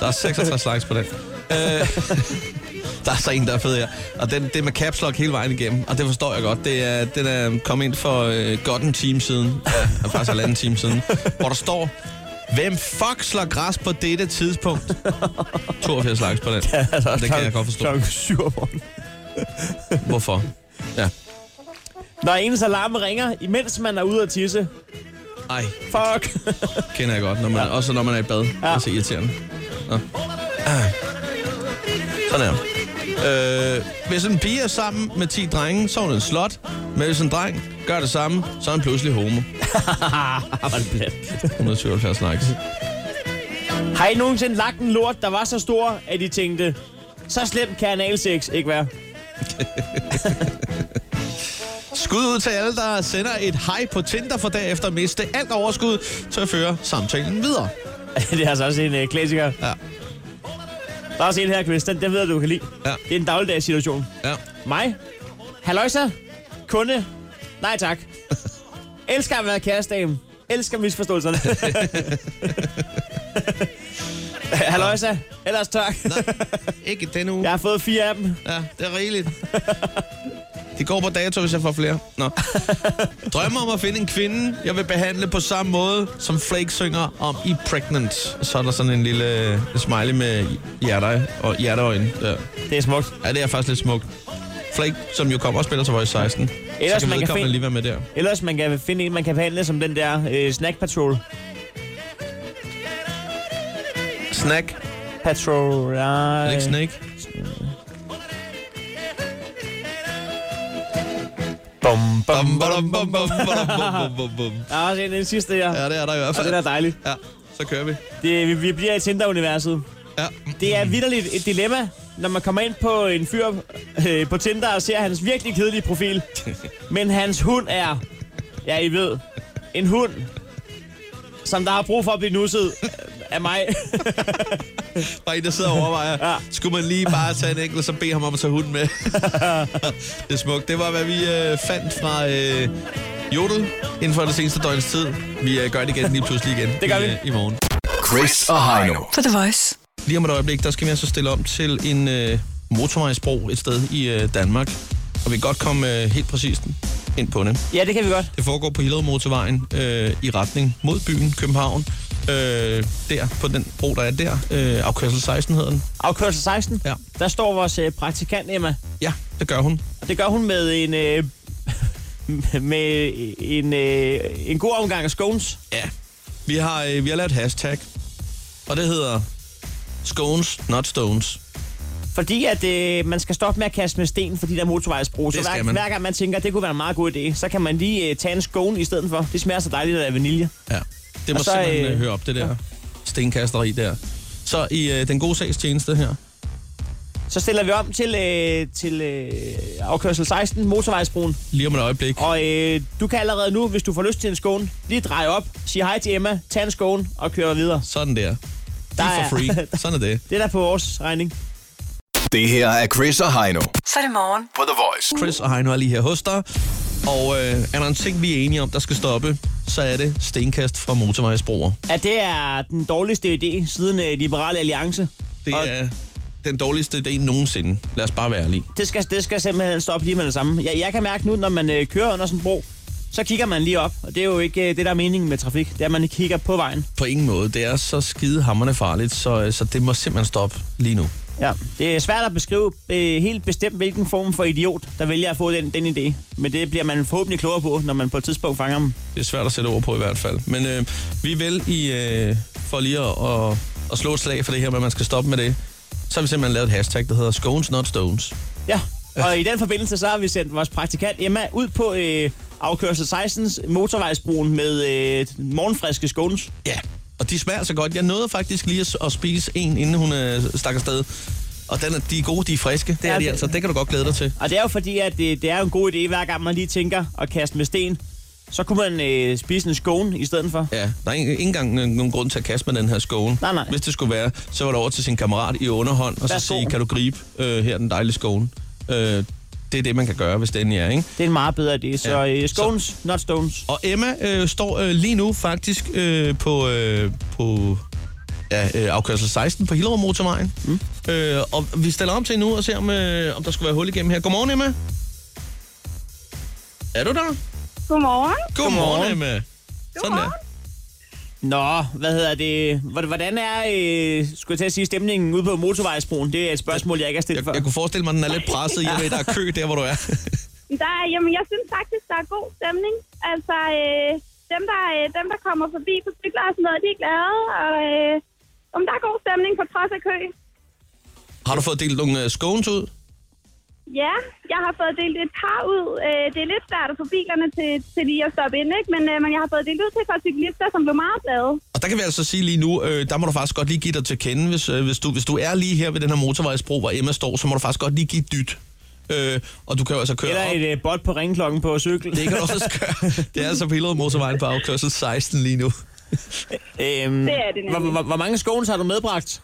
Der er 66 slags på den. Øh, der er så en, der er fed her. Og den, det er med caps lock hele vejen igennem, og det forstår jeg godt. Det er, den er kommet ind for øh, godt en time siden, ja, faktisk halvanden time siden, hvor der står, Hvem fuck slår græs på dette tidspunkt? 82 slags på den. Det kan jeg godt forstå.
Klokken 7 om morgenen.
Hvorfor? Ja.
Når ens alarme ringer, imens man er ude at tisse.
Ej,
Fuck.
kender jeg godt. Når man, ja. Også når man er i bad. Ja. Det er så irriterende. Nå. Ah. Sådan her. Øh, hvis en pige er sammen med 10 drenge, så er hun en slot. Men hvis en dreng gør det samme, så er han pludselig homo.
Ah, hvor er det plat.
177 likes.
Har I nogensinde lagt en lort, der var så stor, at I tænkte, så slemt kan analsex ikke være?
Skud ud til alle, der sender et hej på Tinder, for derefter at miste alt overskud til at føre samtalen videre.
det er altså også en øh, klassiker.
Ja.
Der er også en her, Chris. Den, den ved jeg, du kan lide.
Ja.
Det er en dagligdags situation.
Ja.
Mig? Halløjsa? Kunde? Nej tak. Elsker at være kærestame. Elsker misforståelserne. Halløjsa? Ellers tak.
Ikke den uge.
Jeg har fået fire af dem.
Ja, det er rigeligt. Det går på dato, hvis jeg får flere. Nå. Drømmer om at finde en kvinde, jeg vil behandle på samme måde, som Flake synger om i Pregnant. Og Så er der sådan en lille smiley med hjerter og hjerteøjne. Ja.
Det er smukt.
ja, det er faktisk lidt smukt. Flake, som jo kommer og spiller til Voice 16.
Ellers
så kan
man kan
vedkommende
finde-
lige være med der.
Ellers man kan finde en, man kan behandle som den der øh, snack patrol.
Snack.
Patrol,
Er det
nej.
ikke Snake?
Bum, bum,
Bam,
bum,
badum, bam, bam, badum, bum, bum, bum.
Der er også en, en sidste her. Ja.
Ja, det er der i hvert
Og den
fald.
er dejlig.
Ja, så kører vi.
Det, vi, vi bliver i Tinder-universet.
Ja.
Det er vidderligt et dilemma, når man kommer ind på en fyr øh, på Tinder og ser hans virkelig kedelige profil. Men hans hund er, ja I ved, en hund, som der har brug for at blive nusset øh, af mig.
Bare en, der sidder og overvejer.
Ja.
ja. Skulle man lige bare tage en enkelt, og så bede ham om at tage hunden med? det er smukt. Det var, hvad vi øh, fandt fra øh, Jodel inden for det seneste døgns tid. Vi øh, gør det igen lige pludselig igen
Det gør
i,
vi.
Øh, i morgen.
Chris og Heino.
På The Voice.
Lige om et øjeblik, der skal vi altså stille om til en øh, motorvejsbro et sted i øh, Danmark. Og vi kan godt komme øh, helt præcist ind på det.
Ja, det kan vi godt.
Det foregår på Hillerød Motorvejen øh, i retning mod byen København. Øh, der, på den bro, der er der. Øh, afkørsel 16 hedder den.
Afkørsel 16,
Ja.
der står vores øh, praktikant Emma.
Ja, det gør hun.
Og det gør hun med en... Øh, med en, øh, en god omgang af scones.
Ja. Vi har, øh, vi har lavet et hashtag, og det hedder Scones, not stones.
Fordi at øh, man skal stoppe med at kaste med sten, fordi der er motorvejsbro. Så
Det skal
hver,
man.
hver gang man tænker, at det kunne være en meget god idé, så kan man lige øh, tage en scone i stedet for. Det smager så dejligt af vanilje.
Ja. Det må
Og så,
så, simpelthen øh,
øh,
høre op, det der ja. stenkasteri der. Så i øh, den gode sags tjeneste her.
Så stiller vi om til, øh, til øh, afkørsel 16, motorvejsbroen.
Lige om et øjeblik.
Og øh, du kan allerede nu, hvis du får lyst til en scone, lige dreje op, sige hej til Emma, tag en scone og køre videre.
Sådan der. De
Der
er
er-
for free. Sådan er det.
Det er der på vores regning.
Det her er Chris og Heino.
Så er det morgen.
For The Voice.
Chris og Heino er lige her hos dig. Og øh, er der en ting, vi er enige om, der skal stoppe, så er det stenkast fra motorvejsbroer.
At det er den dårligste idé siden øh, Liberale Alliance.
Det
Og-
er den dårligste idé nogensinde. Lad os bare være ærlige.
Det skal, det skal simpelthen stoppe lige med det samme. Jeg, jeg kan mærke nu, når man øh, kører under sådan en bro, så kigger man lige op. Og det er jo ikke øh, det, der er meningen med trafik. Det er, at man ikke kigger på vejen.
På ingen måde. Det er så skide hammerne farligt, så, øh, så det må simpelthen stoppe lige nu.
Ja. Det er svært at beskrive øh, helt bestemt, hvilken form for idiot, der vælger at få den, den idé. Men det bliver man forhåbentlig klogere på, når man på et tidspunkt fanger dem.
Det er svært at sætte ord på i hvert fald. Men øh, vi er vel i, øh, for lige at, at, at slå et slag for det her med, at man skal stoppe med det, så har vi simpelthen lavet et hashtag, der hedder Scones Not Stones.
Ja, Og i den forbindelse, så har vi sendt vores praktikant Emma ud på øh, afkørsel 16's motorvejsbroen med øh, morgenfriske scones.
Ja, og de smager så godt. Jeg nåede faktisk lige at- at spise en, inden hun øh, stak afsted. Og den er, de er gode, de er friske. Det er
Ja,
de
det-
altså. Det kan du godt glæde dig til.
Og det er jo fordi, at det, det er jo en god idé, hver gang man lige tænker at kaste med sten. Så kunne man øh, spise en scone i stedet for.
Ja, der er ikke ikke engang nogen nogen grund til at kaste med den her skåne.
Nej, nej.
Hvis det skulle være, så var det over til sin kammerat i underhånd, og så
Værsgo.
sige, kan du gribe øh, her den dejlige skåne? Øh, det er det, man kan gøre, hvis det endelig er, ikke?
Det er en meget bedre idé. Så
Ja.
øh, scones, not stones.
Og Emma øh, står øh, lige nu faktisk øh, på, øh, på ja, øh, afkørsel 16 på Hillerød Motorvejen. Mm. Øh, og vi stiller om til nu og ser, om, øh, om der skulle være hul igennem her. Godmorgen, Emma. Er du der? Godmorgen,
Godmorgen.
Godmorgen.
Emma. Sådan der.
Nå, hvad hedder det? Hvor- Hvordan er, øh, skulle jeg til at sige, stemningen ude på motorvejsbroen? Det er et spørgsmål, jeg ikke har stillet før.
Jeg, jeg kunne forestille mig, at den er lidt presset i og med, at der er kø der, hvor du er.
Der er, jamen, jeg synes faktisk, der er god stemning. Altså, øh, dem, der, øh, dem, der kommer forbi på cykler og sådan noget, de er glade. Og øh, om der er god stemning på trods af kø.
Har du fået delt nogle øh, scones ud?
Ja, jeg har fået delt et par ud. Øh, det er lidt svært at få bilerne til, til lige at stoppe ind, ikke? Men, øh, men jeg har fået delt ud til et par cyklister, som blev meget glade.
Og der kan vi altså sige lige nu, øh, der må du faktisk godt lige give dig til kende, hvis, øh, hvis, du, hvis du er lige her ved den her motorvejsbro, hvor Emma står, så må du faktisk godt lige give et dyt. Øh, og du kan jo altså køre
Eller
op.
et øh, bot på ringklokken på cykel.
Det kan du også køre. Det er altså på Hillerød Motorvejen på afkørsel 16 lige nu.
Øhm,
Det er det nemlig.
hvor, hvor, hvor mange scones har du medbragt?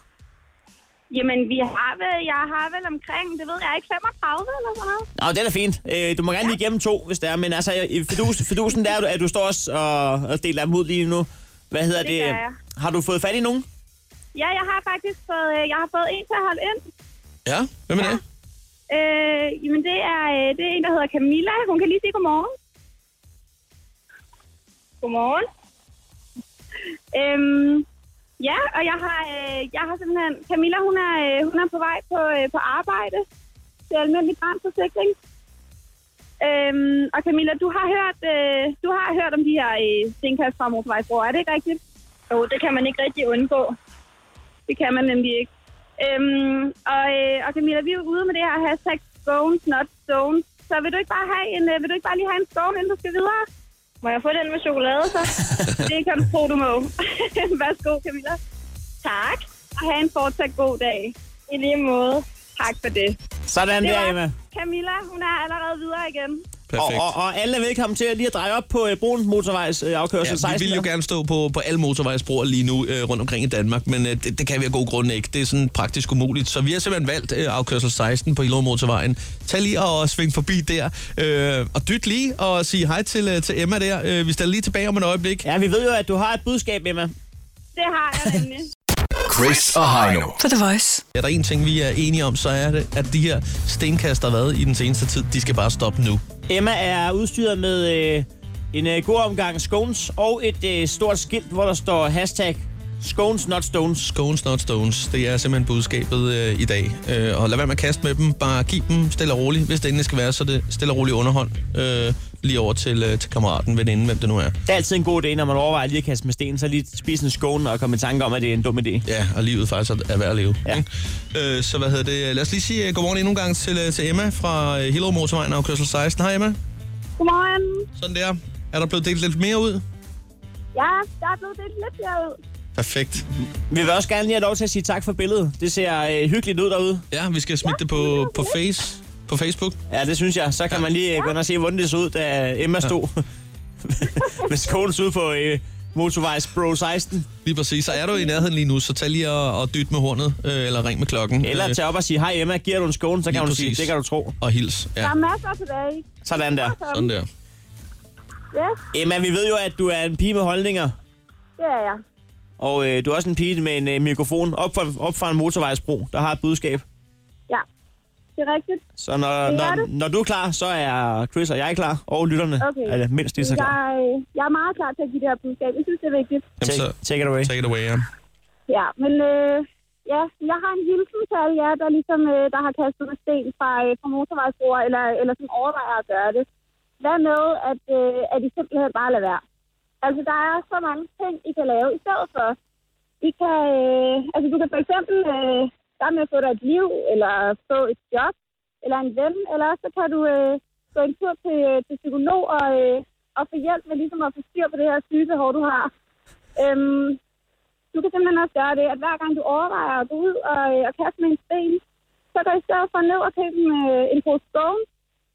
Jamen, vi har vel, jeg har vel omkring, det ved jeg ikke, 35 eller sådan noget.
Nå, det er da fint. Øh, du må gerne lige gemme to, hvis det er. Men altså, i fidus, fidusen der, er du- at du står også og, og deler dem ud lige nu. Hvad hedder det?
Det gør jeg.
Har du fået fat i nogen?
Ja, jeg har faktisk fået, øh, jeg har fået en til at holde ind.
Ja, hvem er det?
Øh, jamen, det er, øh, det er en, der hedder Camilla. Hun kan lige sige godmorgen. Godmorgen. Øhm, ja, og jeg har, øh, jeg har simpelthen... Camilla, hun er, øh, hun er på vej på, øh, på arbejde til almindelig brandforsikring. Øhm, og Camilla, du har hørt, øh, du har hørt om de her øh, stenkast fra motorvejsbroer, er det ikke rigtigt? Jo, det kan man ikke rigtig undgå. Det kan man nemlig ikke. Øhm, og, øh, og Camilla, vi er jo ude med det her hashtag Stones, not Stones. Så vil du ikke bare, have en, øh, vil du ikke bare lige have en stone, inden du skal videre? Må jeg få den med chokolade, så? det kan du tro, du må. Værsgo, Camilla. Tak. Og have en fortsat god dag. I lige måde. Tak for det.
Sådan
Det
der,
var
Emma.
Camilla, hun er allerede videre igen.
Og,
Perfekt.
og, og alle er velkommen til at lige at dreje op på øh, broen motorvejs øh, afkørsel
Ja,
16.
vi vil jo gerne stå på, på alle motorvejsbroer lige nu øh, rundt omkring i Danmark, men øh, det, det kan vi af gode grunde ikke. Det er sådan praktisk umuligt. Så vi har simpelthen valgt øh, afkørsel 16 på Hillerød Motorvejen. Tag lige og sving forbi der, øh, og dyt lige og sig hej til, øh, til Emma der. Øh, vi stiller lige tilbage om et øjeblik.
Ja, vi ved jo, at du har et budskab, Emma.
Det har jeg nemlig.
Chris og Heino.
På The Voice.
Er der en ting, vi er enige om, så er det, at de her stenkaster, der har været i den seneste tid, de skal bare stoppe nu.
Emma er udstyret med øh, en øh, god omgang scones og et øh, stort skilt, hvor der står hashtag scones, not stones.
Scones, not stones. Det er simpelthen budskabet øh, i dag. Øh, og lad være med at kaste med dem. Bare giv dem stille og roligt. Hvis det endelig skal være, så er det stille og roligt underhånd. Øh, lige over til, øh, til kammeraten, veninden, hvem det nu er.
Det er altid en god idé, når man overvejer lige at kaste med sten, så lige spise en skåne og komme i tanke om, at det er en dum idé.
Ja, og livet faktisk er- er værd at leve.
Ja.
ikke? Øh, så hvad hedder det? Lad os lige sige øh, godmorgen endnu en gang til, øh, til Emma fra øh, Hillerød Motorvejen afkørsel 16. Hej Emma.
Godmorgen.
Sådan der. Er der blevet delt lidt mere ud?
Ja, der er blevet delt lidt derud.
Perfekt.
Vi vil også gerne lige have lov til at sige tak for billedet. Det ser øh, hyggeligt ud derude.
Ja, vi skal smide det på, på, face, på Facebook.
Ja, det synes jeg. Så kan man lige øh, gå ind og se, hvordan det så ud, da øh, Emma stod med skånes ude på øh, motorvejs Bro 16.
Lige præcis. Så er du i nærheden lige nu, så tag lige og, og dyt med hornet, øh, eller ring med klokken.
Eller
øh,
tage op og sige, hej Emma, giver du en skåne, så kan
Lige
hun
præcis.
sige, det kan du tro.
og hils.
Der
Ja,
er masser tilbage.
Sådan der.
sådan der.
Yes,
Emma, vi ved jo, at du er en pige med holdninger.
det er jeg.
Og øh, du er også en pige med en øh, mikrofon op fra, op fra en motorvejsbro, der har et budskab.
Ja, det er rigtigt.
Så når,
Det er
når,
det.
når du er klar, så er Chris og jeg klar, og lytterne
Okay.
er mindst lige så klar.
Jeg, øh, jeg er meget klar til at give det her budskab. Jeg synes, det er vigtigt.
Jamen, så
Take, take it away.
take it away, ja.
Ja, men øh, ja, jeg har en hilsen til alle jer, der, ligesom, øh, der har kastet med sten fra, øh, fra motorvejsbroer, eller, eller som overvejer at gøre det. Hvad med, at, øh, at I simpelthen bare lader være? Altså, der er så mange ting, I kan lave i stedet for. I kan, øh, altså, du kan for eksempel øh, starte med at få dig et liv, eller få et job,
eller en ven, eller også så kan du øh, gå en tur til, øh, til psykolog og, øh, og få hjælp med ligesom at få styr på det her sygebehov, du har. Øhm, du kan simpelthen også gøre det, at hver gang du overvejer at gå ud og, øh, og kaste med en sten, så går i stedet for ned og købe en, øh, en pose scones.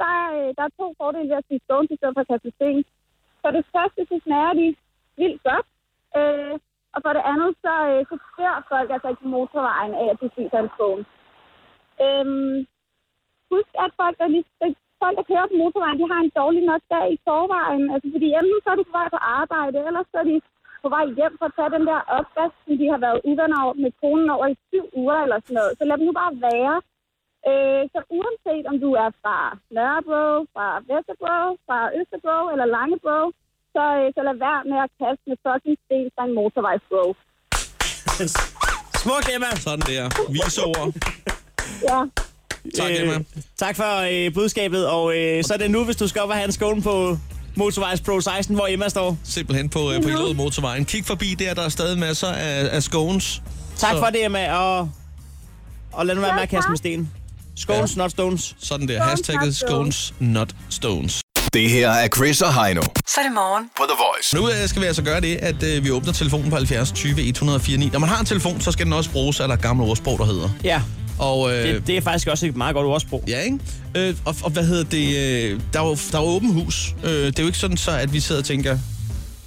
Der er, øh, der er to fordele ved at spise scones i stedet for at kaste med sten. For det første, så smager de vildt godt. Øh, og for det andet, så, øh, så dør folk altså ikke på motorvejen af, at de spiser en scone. Øhm, husk, at folk, der, lige, der- folk, der kører på motorvejen, de har en dårlig nok dag i forvejen. Altså, fordi enten så er de på vej på arbejde, eller så er de på vej hjem for at tage den der opvask, som de har været uvenner over- med konen over i syv uger eller sådan noget. Så lad dem nu bare være. Øh, så uanset om du er fra Nørrebro, fra Vesterbro, fra Østerbro eller Langebro, så, øh, så lad være med at kaste med fucking sten fra en motorvejsbro.
Smukt, Emma.
Sådan der. Vise ord.
Ja.
Tak, Emma.
Øh, tak for øh, budskabet, og øh, så er det nu, hvis du skal op og have en skål på Motorvejs Pro 16, hvor Emma står.
Simpelthen på, øh, på Hillerød Motorvejen. Kig forbi der, der er stadig masser af, af scones.
Tak
Så-
for det, Emma, og, og lad nu være med at kaste med sten. Scones,
Ja.
not stones.
Sådan der.
Scones,
Hashtagget
not stones.
scones, not stones.
Det her er Chris og Heino
Så er det morgen.
på The Voice.
Nu øh, skal vi altså gøre det, at øh, vi åbner telefonen på 70 20 104 9. Når man har en telefon, så skal den også bruges, er der et gammelt ordsprog, der hedder.
Ja,
Og, øh,
det, det er faktisk også et meget godt ordsprog.
Ja, ikke? Øh, og, og hvad hedder det? Øh, der er jo der er jo åben hus. Øh, det er jo ikke sådan så, at vi sidder og tænker,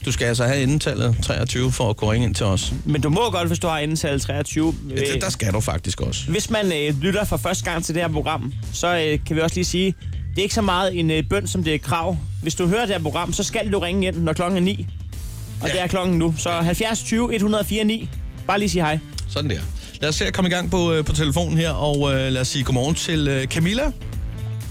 du skal altså have endetallet 23 for at kunne ringe ind til os.
Men du må godt, hvis du har endetallet 23.
Ja, det,
Øh,
der skal du faktisk også.
Hvis man øh, lytter for første gang til det her program, så øh, kan vi også lige sige, det er ikke så meget en øh, bøn, som det er et krav. Hvis du hører det her program, så skal du ringe ind, når klokken er 9. Og
Ja.
ja. det er klokken nu. Så 70 20 104 9. Bare lige sige hej.
Sådan der. Lad os se at komme i gang på, øh, på telefonen her, og øh, lad os sige godmorgen til øh, Camilla.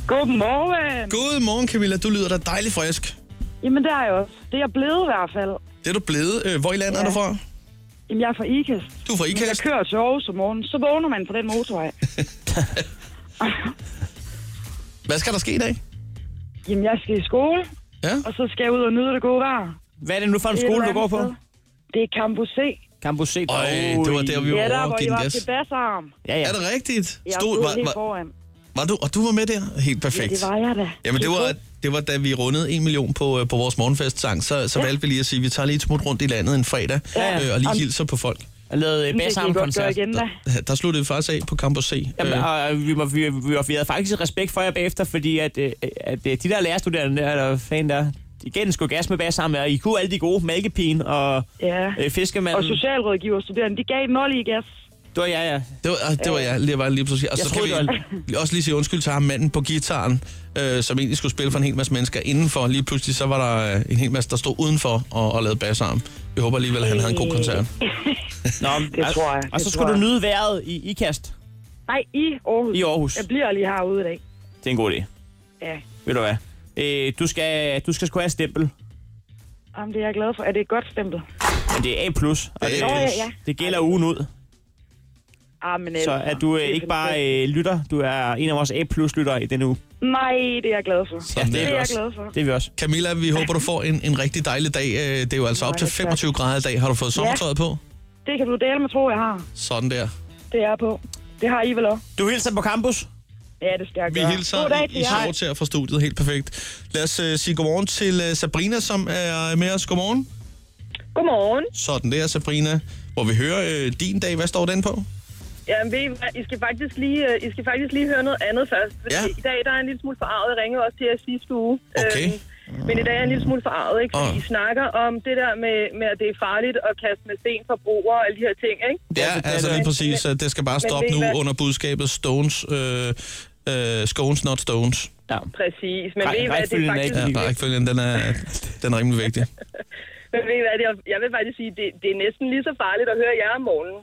Godmorgen.
Godmorgen, Camilla. Du lyder da dejligt frisk.
Jamen, det er jeg også. Det er jeg blevet i hvert fald.
Det er du blevet. Øh, hvor i landet ja. er du fra?
Jamen, jeg er fra Ikast.
Du er fra
Når jeg
Ikast.
kører til Aarhus om morgenen, så vågner man på den motorvej.
Hvad skal der ske i dag?
Jamen, jeg skal i skole,
Ja,
og så skal jeg ud og nyde det gode vejr.
Hvad er det nu for en
Et
skole,
eller
du går
andet
på?
sted. Det er Campus C.
Campus C.
Øj, det var der, vi
Ja,
var
der
over
hvor
og
I
give den
var
gas.
til bassarm.
Ja, ja.
Er det rigtigt?
Jeg
Stod,
stod
var,
helt
var,
foran.
var du, og du var med der? Helt perfekt.
Ja, det var jeg da.
Jamen, det var, det var, da vi rundede 1 million på, øh, på vores morgenfestsang, så, så valgte vi lige at sige, at vi tager lige et smut rundt i landet en fredag,
Ja.
øh, og lige hilser på folk.
Jeg lavede
Det kan I godt gøre
Bassarm-koncert.
igen, da.
Der, der sluttede vi faktisk af på Campus C.
Jamen,
Øh,
og øh, vi, var, vi, vi, var, vi havde faktisk respekt for jer bagefter, fordi at, øh, at øh, de der lærerstuderende der, eller fan der, igen skulle gas med bag sammen, og I kunne alle de gode, mælkepigen og
Ja.
øh, fiskemanden.
Og socialrådgiverstuderende, de gav mål i gas.
Det var jeg, ja.
det, var, ah, det var jeg lige, var lige pludselig. Og
Jeg
så kan
troede,
vi også lige sige undskyld til ham manden på gitaren, øh, som egentlig skulle spille for en hel masse mennesker indenfor. Lige pludselig så var der øh, en hel masse, der stod udenfor og, og lavede bassarm. Vi håber alligevel, at han havde en
Øh.
god koncert.
Nå,
Det
og,
tror jeg.
Og
Det
så
tror
skulle du
jeg.
nyde vejret i Ikast
Nej, i Aarhus.
i Aarhus.
Jeg bliver lige herude i dag.
Det er en god idé.
Ja.
Ved du hvad? Øh, du, skal, du skal sgu have et stempel,
Jamen, det er jeg glad for. Er det et godt stempel?
men det er A+, og det,
Det er A+.
Nå, ja, ja.
det gælder ugen ud.
Ah, men
Så
ellers-
at du øh,
Det er
ikke bare
fantastisk.
øh, lytter, du er en af vores A+-lyttere i denne uge.
Nej, det er jeg glad for.
Sådan
det
Det
der.
er jeg
også.
glad for.
Det er vi også.
Camilla, vi håber, du får en, en rigtig dejlig dag. Øh, Det er jo altså op til
Mange tak.
25 grader i dag. Har du fået sommertøjet på?
Det kan du dele med, tro, jeg har.
Sådan der.
Det er jeg på. Det har I vel også?
Du hilser på campus.
Ja, det skal jeg
Vi
gøre.
hilser
God dag
i,
til
i
jer.
shorts her fra studiet. Helt perfekt. Lad os uh, sige godmorgen til uh, Sabrina, som er med os. Godmorgen.
Godmorgen.
Sådan der, Sabrina. Hvor vi hører uh, din dag. Hvad står den på?
Jamen, ved I, hvad? I skal faktisk lige, øh, I skal faktisk lige høre noget andet først. Fordi
Ja.
I dag der er jeg en lille smule forarvet. Jeg ringede også til jer i sidste uge.
Okay.
Øhm, men i dag er jeg en lille smule forarvet, ikke? Fordi
Åh.
I snakker om det der med, med, at det er farligt at kaste med sten for broer og alle de her ting, ikke?
Ja, altså lige præcis. øh, Det skal bare
Men
stoppe
ved I
nu
hvad?
under budskabet Stones. Øh, øh, scones, not stones.
Ja.
Præcis. Men
Rej-
ved I, hvad, det
rækkefølgen
er
er
faktisk...
ikke-
Ja, rækkefølgen, den er, den er rimelig vigtig.
Men ved I hvad, jeg, jeg vil faktisk sige, det, det er næsten lige så farligt at høre jer om morgenen.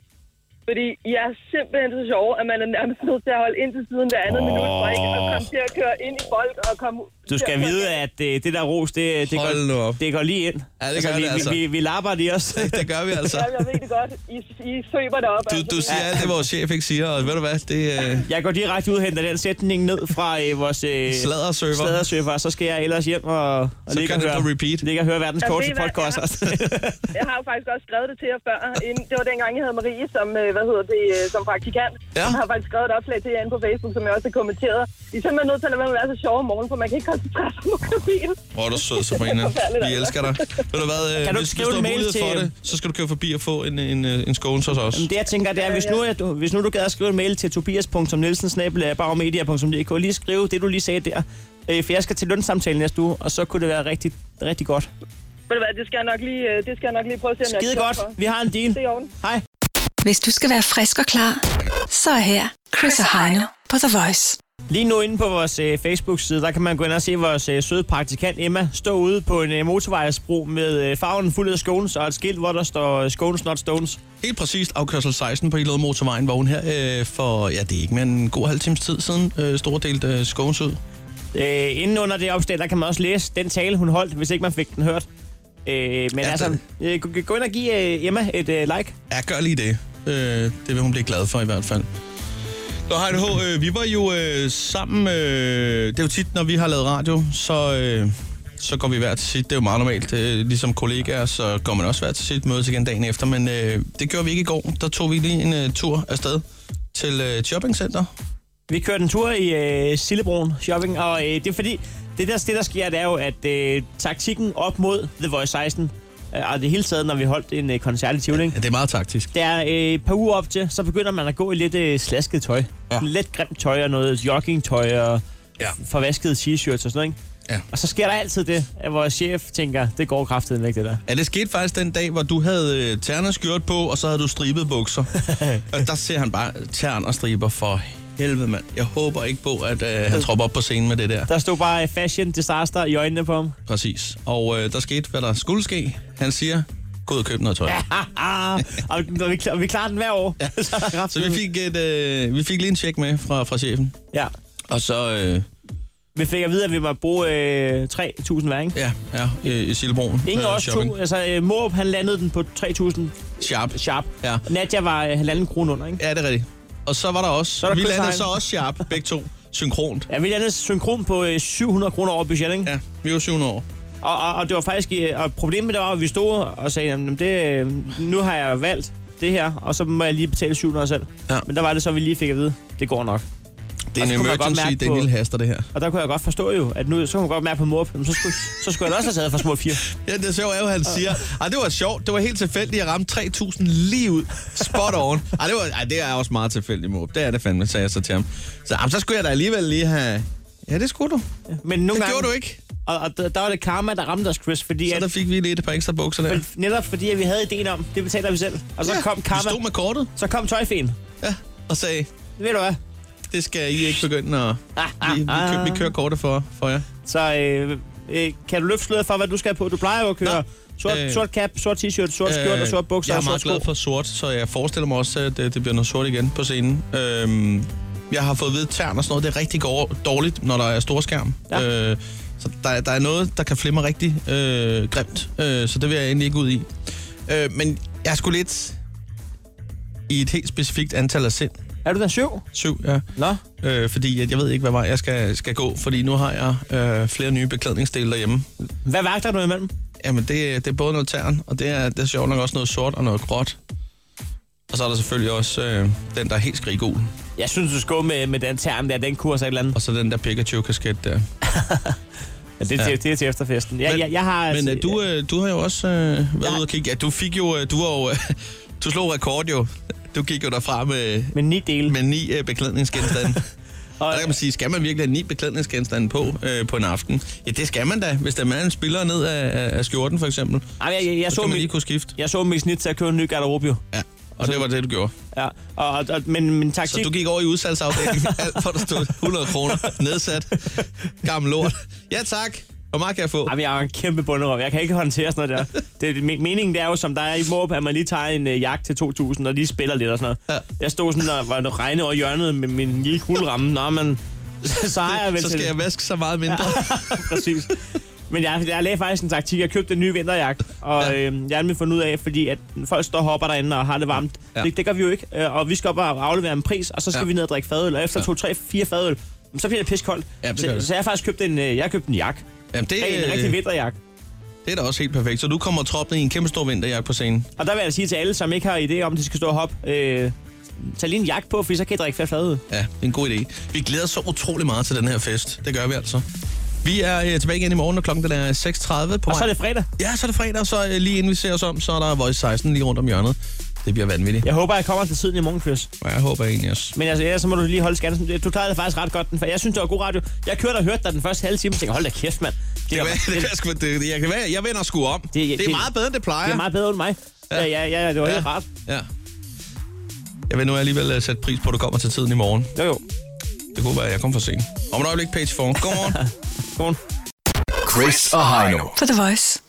Fordi I er simpelthen så sjove, at man er nærmest nødt til at holde ind til siden hver andet oh. minut, for ikke at komme til at køre ind i folk og komme
Du skal vide, at øh, det, det der ros, det, det,
Hold nu
går,
op.
det går lige ind.
Ja, det gør
vi,
det altså.
Vi, vi, vi lapper de også.
Det, det gør vi altså.
Jamen, jeg ved det godt. I, I søber det op. altså.
Du, du siger alt det, vores chef ikke siger, og ved du hvad, det... Øh,
Jeg går direkte ud og henter den sætning ned fra øh, vores øh,
Sladderserver.
sladderserver, og så skal jeg ellers hjem og, og
Så
ligge,
kører
og
den
høre,
på repeat.
ligge og høre verdens
Jamen,
korteste
ved I hvad,
podcast.
Jeg har jo faktisk også skrevet det til jer før. Inden- Det var dengang, jeg havde Marie som, øh, hvad hedder det, øh, som praktikant.
Ja.
Jeg har faktisk skrevet et opslag til jer inde på Facebook, som jeg også har kommenteret. I er simpelthen nødt til at lade være med at være så sjove om morgenen, for man kan ikke koncentrere sig om økonomien.
Åh, oh, du er sød, Sabrina. Vi elsker dig. Ved du hvad, øh,
Kan du
hvis,
skrive
hvis du
en
har
mail
mulighed for
til-
det, så skal du køre forbi og få en, en, øh, en scones hos os.
Men det jeg tænker, det er, hvis nu, at du, hvis nu du gad at skrive en mail til tobias.nielsen-baromedia.dk, lige skrive det, du lige sagde der. Øh, for jeg skal til lønssamtalen næste uge, og så kunne det være rigtig, rigtig godt.
Ved du hvad, det skal jeg nok lige, øh, det skal jeg nok lige prøve at se, om jeg
Skide
kan
godt,
for.
vi har en deal.
Det er i orden.
Hej.
Hvis du skal være frisk og klar, så er her Chris og Heino på The Voice.
Lige nu inde på vores øh, Facebook-side, der kan man gå ind og se vores øh, søde praktikant Emma stå ude på en øh, motorvejsbro med øh, farven fuld af scones og et skilt, hvor der står øh, scones, not stones.
Helt præcist afkørsel 16 på Hillerød Motorvejen, hvor hun her øh, for, ja, det er ikke mere end en god halv times tid siden, øh, stordelt øh, scones ud.
Øh, inden under det opslag, der kan man også læse den tale, hun holdt, hvis ikke man fik den hørt. Øh, men
Ja,
ja, altså,
den-
øh, gå- gå ind og give øh, Emma et øh, like.
Ja, gør lige det. Øh, det vil hun blive glad for i hvert fald. Nå, Heino H., øh, vi var jo øh, sammen, øh, det er jo tit, når vi har lavet radio, så, øh, så går vi hver til sit, det er jo meget normalt, øh, ligesom kollegaer, så går man også hver til sit mødes igen dagen efter, men øh, det gjorde vi ikke i går, der tog vi lige en øh, tur afsted til øh, et shoppingcenter.
Vi kørte en tur i øh, Sillebroen Shopping, og øh, det er fordi, det der, det der sker, det er jo, at øh, taktikken op mod The Voice 16, øh, og det hele taget, når vi holdt en øh, koncert i Tivoli,
Ja, det er meget taktisk.
Der er øh, et par uger op til, så begynder man at gå i lidt øh, slasket tøj.
Ja.
Ja. Lidt grimt tøj og noget joggingtøj og
Ja.
ja. forvaskede t-shirts og sådan noget, ikke?
Ja.
Og så sker der altid det, at vores chef tænker, det går kraftigt væk, det der.
Ja, det skete faktisk den dag, hvor du havde øh, tern og skjort på, og så havde du stribet bukser. og der ser han bare tern og striber for helvede, mand. Jeg håber ikke på, at øh, han tropper op på scenen med det der.
Der stod bare øh, fashion disaster i øjnene på ham.
Præcis. Og øh, der skete, hvad der skulle ske. Han siger, gå ud og køb noget tøj. Ja.
Ah, og, vi, og, vi, og vi klarer den hver år. Ja. så, er der
Så
kraftigt-
vi fik, et, øh, vi fik lige en tjek med fra, fra chefen.
Ja.
Og så, øh,
Vi fik at vide, at vi måtte bruge øh, 3.000 hver, ikke?
ja, ja, øh, i Sillebroen.
Ingen af os
shopping.
to. Altså, øh, Morup, han landede den på 3.000
Sharp.
sharp.
Ja.
Nadja var øh, halvanden krone under, ikke?
Ja, det er rigtigt. Og så var der også,
er der
vi
Chris
landede
Hein.
så også sharp, begge to, synkront.
Ja, vi landede synkron på øh, 700 kroner over budget, ikke?
Ja, vi var 700 år.
Og, og, og det var faktisk... øh, Og problemet det var, at vi stod og sagde, jamen det, øh, nu har jeg valgt det her, og så må jeg lige betale 700 selv.
Ja.
Men der var det så, vi lige fik at vide, det går nok.
Det er
Og
en
så kunne man godt
emergency,
mærke
det er en
på-
lille haster, det her.
Og der kunne jeg godt forstå jo, at nu så kunne man godt mærke på mor, så skulle, så skulle jeg da også have taget for små fire.
Ja, det sjove er jo, at han siger, ej, det var sjovt, det var helt tilfældigt, jeg ramte 3.000 lige ud, spot on. Ej, det, var, ej, det er også meget tilfældigt, Måb. Det er det fandme, sagde jeg så til ham. Så, jamen, så skulle jeg da alligevel lige have... Ja, det skulle du.
Men nogle
Det
gange,
gjorde du ikke.
Og, og der, der, var det karma, der ramte os, Chris, fordi
Så
at,
der fik vi lige et par ekstra bukser der.
netop fordi at vi havde ideen om, det betaler vi selv. Og så
Ja,
kom
Vi stod
karma,
med kortet
så kom tøjfen.
ja, og sagde,
Ved du hvad?
det skal I ikke begynde at...
Ah,
Vi, vi, kø, vi kører kortet for, for jer.
Så øh, øh, kan du løfte sløret for, hvad du skal have på? Du plejer jo at køre
Nå.
sort,
Øh.
sort cap, sort t-shirt, sort skjort og sort bukser
Jeg
og
er
sort
meget
sko.
glad for sort, så jeg forestiller mig også, at øh, det, det bliver noget sort igen på scenen. Øhm, jeg har fået ved tern og sådan noget. Det er rigtig går- dårligt, når der er stor skærm.
Ja.
Øh, så der, der er noget, der kan flimre rigtig øh, grimt. Øh, så det vil jeg egentlig ikke ud i. Øh, men jeg er sgu lidt i et helt specifikt antal af sind.
Er du der syv?
Syv, ja.
Nå.
Øh, fordi at jeg ved ikke, hvad vej jeg skal, skal gå. Fordi nu har jeg øh, flere nye beklædningsdele derhjemme.
Hvad vagter du imellem?
Jamen, det, det er både noget tern, og det er, det er sjovt nok også noget sort og noget gråt. Og så er der selvfølgelig også øh, den, der er helt skriggul.
Jeg synes, du skal gå med, med den term der, den kurs og et eller andet.
Og så den der Pikachu-kasket der.
Ja, det, er til, det er til efterfesten. Jeg,
Men-
jeg, jeg har, altså-
Men øh, du, øh, du har jo også øh, været
har-
ude og kigge. Ja, du fik jo... Øh, du, var jo øh, du slog rekord jo. Du gik jo derfra med,
Med ni dele.
med ni øh, beklædningsgenstande.
og,
Og der kan man sige, skal man virkelig have ni beklædningsgenstande på øh, på en aften? Ja, det skal man da. Hvis der er en spiller ned af, af- af skjorten, for eksempel,
Ej, jeg, jeg, jeg,
så
så
skal man lige
mit,
kunne skifte.
jeg så mit snit til at købe en ny garderobe, jo.
Ja, og det var det, du gjorde.
Ja. Og, og, og, men min
Så
taktik...
du gik over i udsalgsafdelingen, alt for der stod 100 kroner nedsat. Gammel lort. Ja tak. Hvor meget kan jeg få?
Ej, men jeg har en kæmpe bunderøv. Jeg kan ikke håndtere sådan noget der. Det, men- meningen det er jo, som der er i Måb, at man lige tager en øh, jagt til 2.000 og lige spiller lidt og sådan noget.
Ja.
Jeg stod sådan og var regne over hjørnet med min lille kugleramme. Nå, men så har jeg vel
Så
til
skal
det.
jeg vaske så meget mindre.
Præcis. Men jeg, jeg lagde faktisk en taktik. Jeg købte en ny vinterjagt, og ja. øh, jeg har nemlig fundet ud af, fordi at folk står og hopper derinde og har det varmt.
Ja.
Ja. Det, det gør vi jo ikke. Øh, Og vi skal op og aflevere en pris, og så skal
Ja.
ja. vi ned og drikke fadøl. Og efter to, tre, fire fadøl, så bliver det piskoldt.
Ja, det gør
så,
det.
så jeg har faktisk købt en, øh, jeg har købt en jakke.
Jamen, det,
Det, en
øh,
rigtig vinterjakke.
det er da også helt perfekt. Så du kommer troppende i en kæmpe stor vinterjakke på scenen.
Og der vil jeg sige til alle, som ikke har idé om, at de skal stå og hoppe, øh, tag lige en jakke på, for så kan I drikke flere fadøl.
Ja, det er en god idé. Vi glæder os så utrolig meget til den her fest. Det gør vi altså. Vi er øh, tilbage igen i morgen, og klokken den er 6.30 på
Og så er
vej.
det fredag.
Ja, så er det fredag, og så øh, lige inden vi ser os om, så er der Voice 16 lige rundt om hjørnet. Det bliver vanvittigt.
Jeg håber, jeg kommer til tiden i morgen, Chris.
Ja. Jeg håber egentlig også.
Men altså, ellers så må du lige holde skansen. Du klarede det faktisk ret godt, den, for jeg synes, det var god radio. Jeg kørte og hørte dig den første halve time, og tænkte, hold da kæft, mand.
Det, kan være- det, kan sgu- det, det, jeg, kan være, jeg vender sgu om. Det, det, det er meget bedre, end det plejer.
Det er meget bedre end mig. Ja, ja, ja, ja det var helt rart.
Ja. Jeg vil nu alligevel øh, sætte pris på, at du kommer til tiden i morgen.
Jo, jo.
Det kunne være, at jeg kom for sent. Om et øjeblik, page 4. Godmorgen.
Godmorgen.
Chris og Heino.
På The Voice.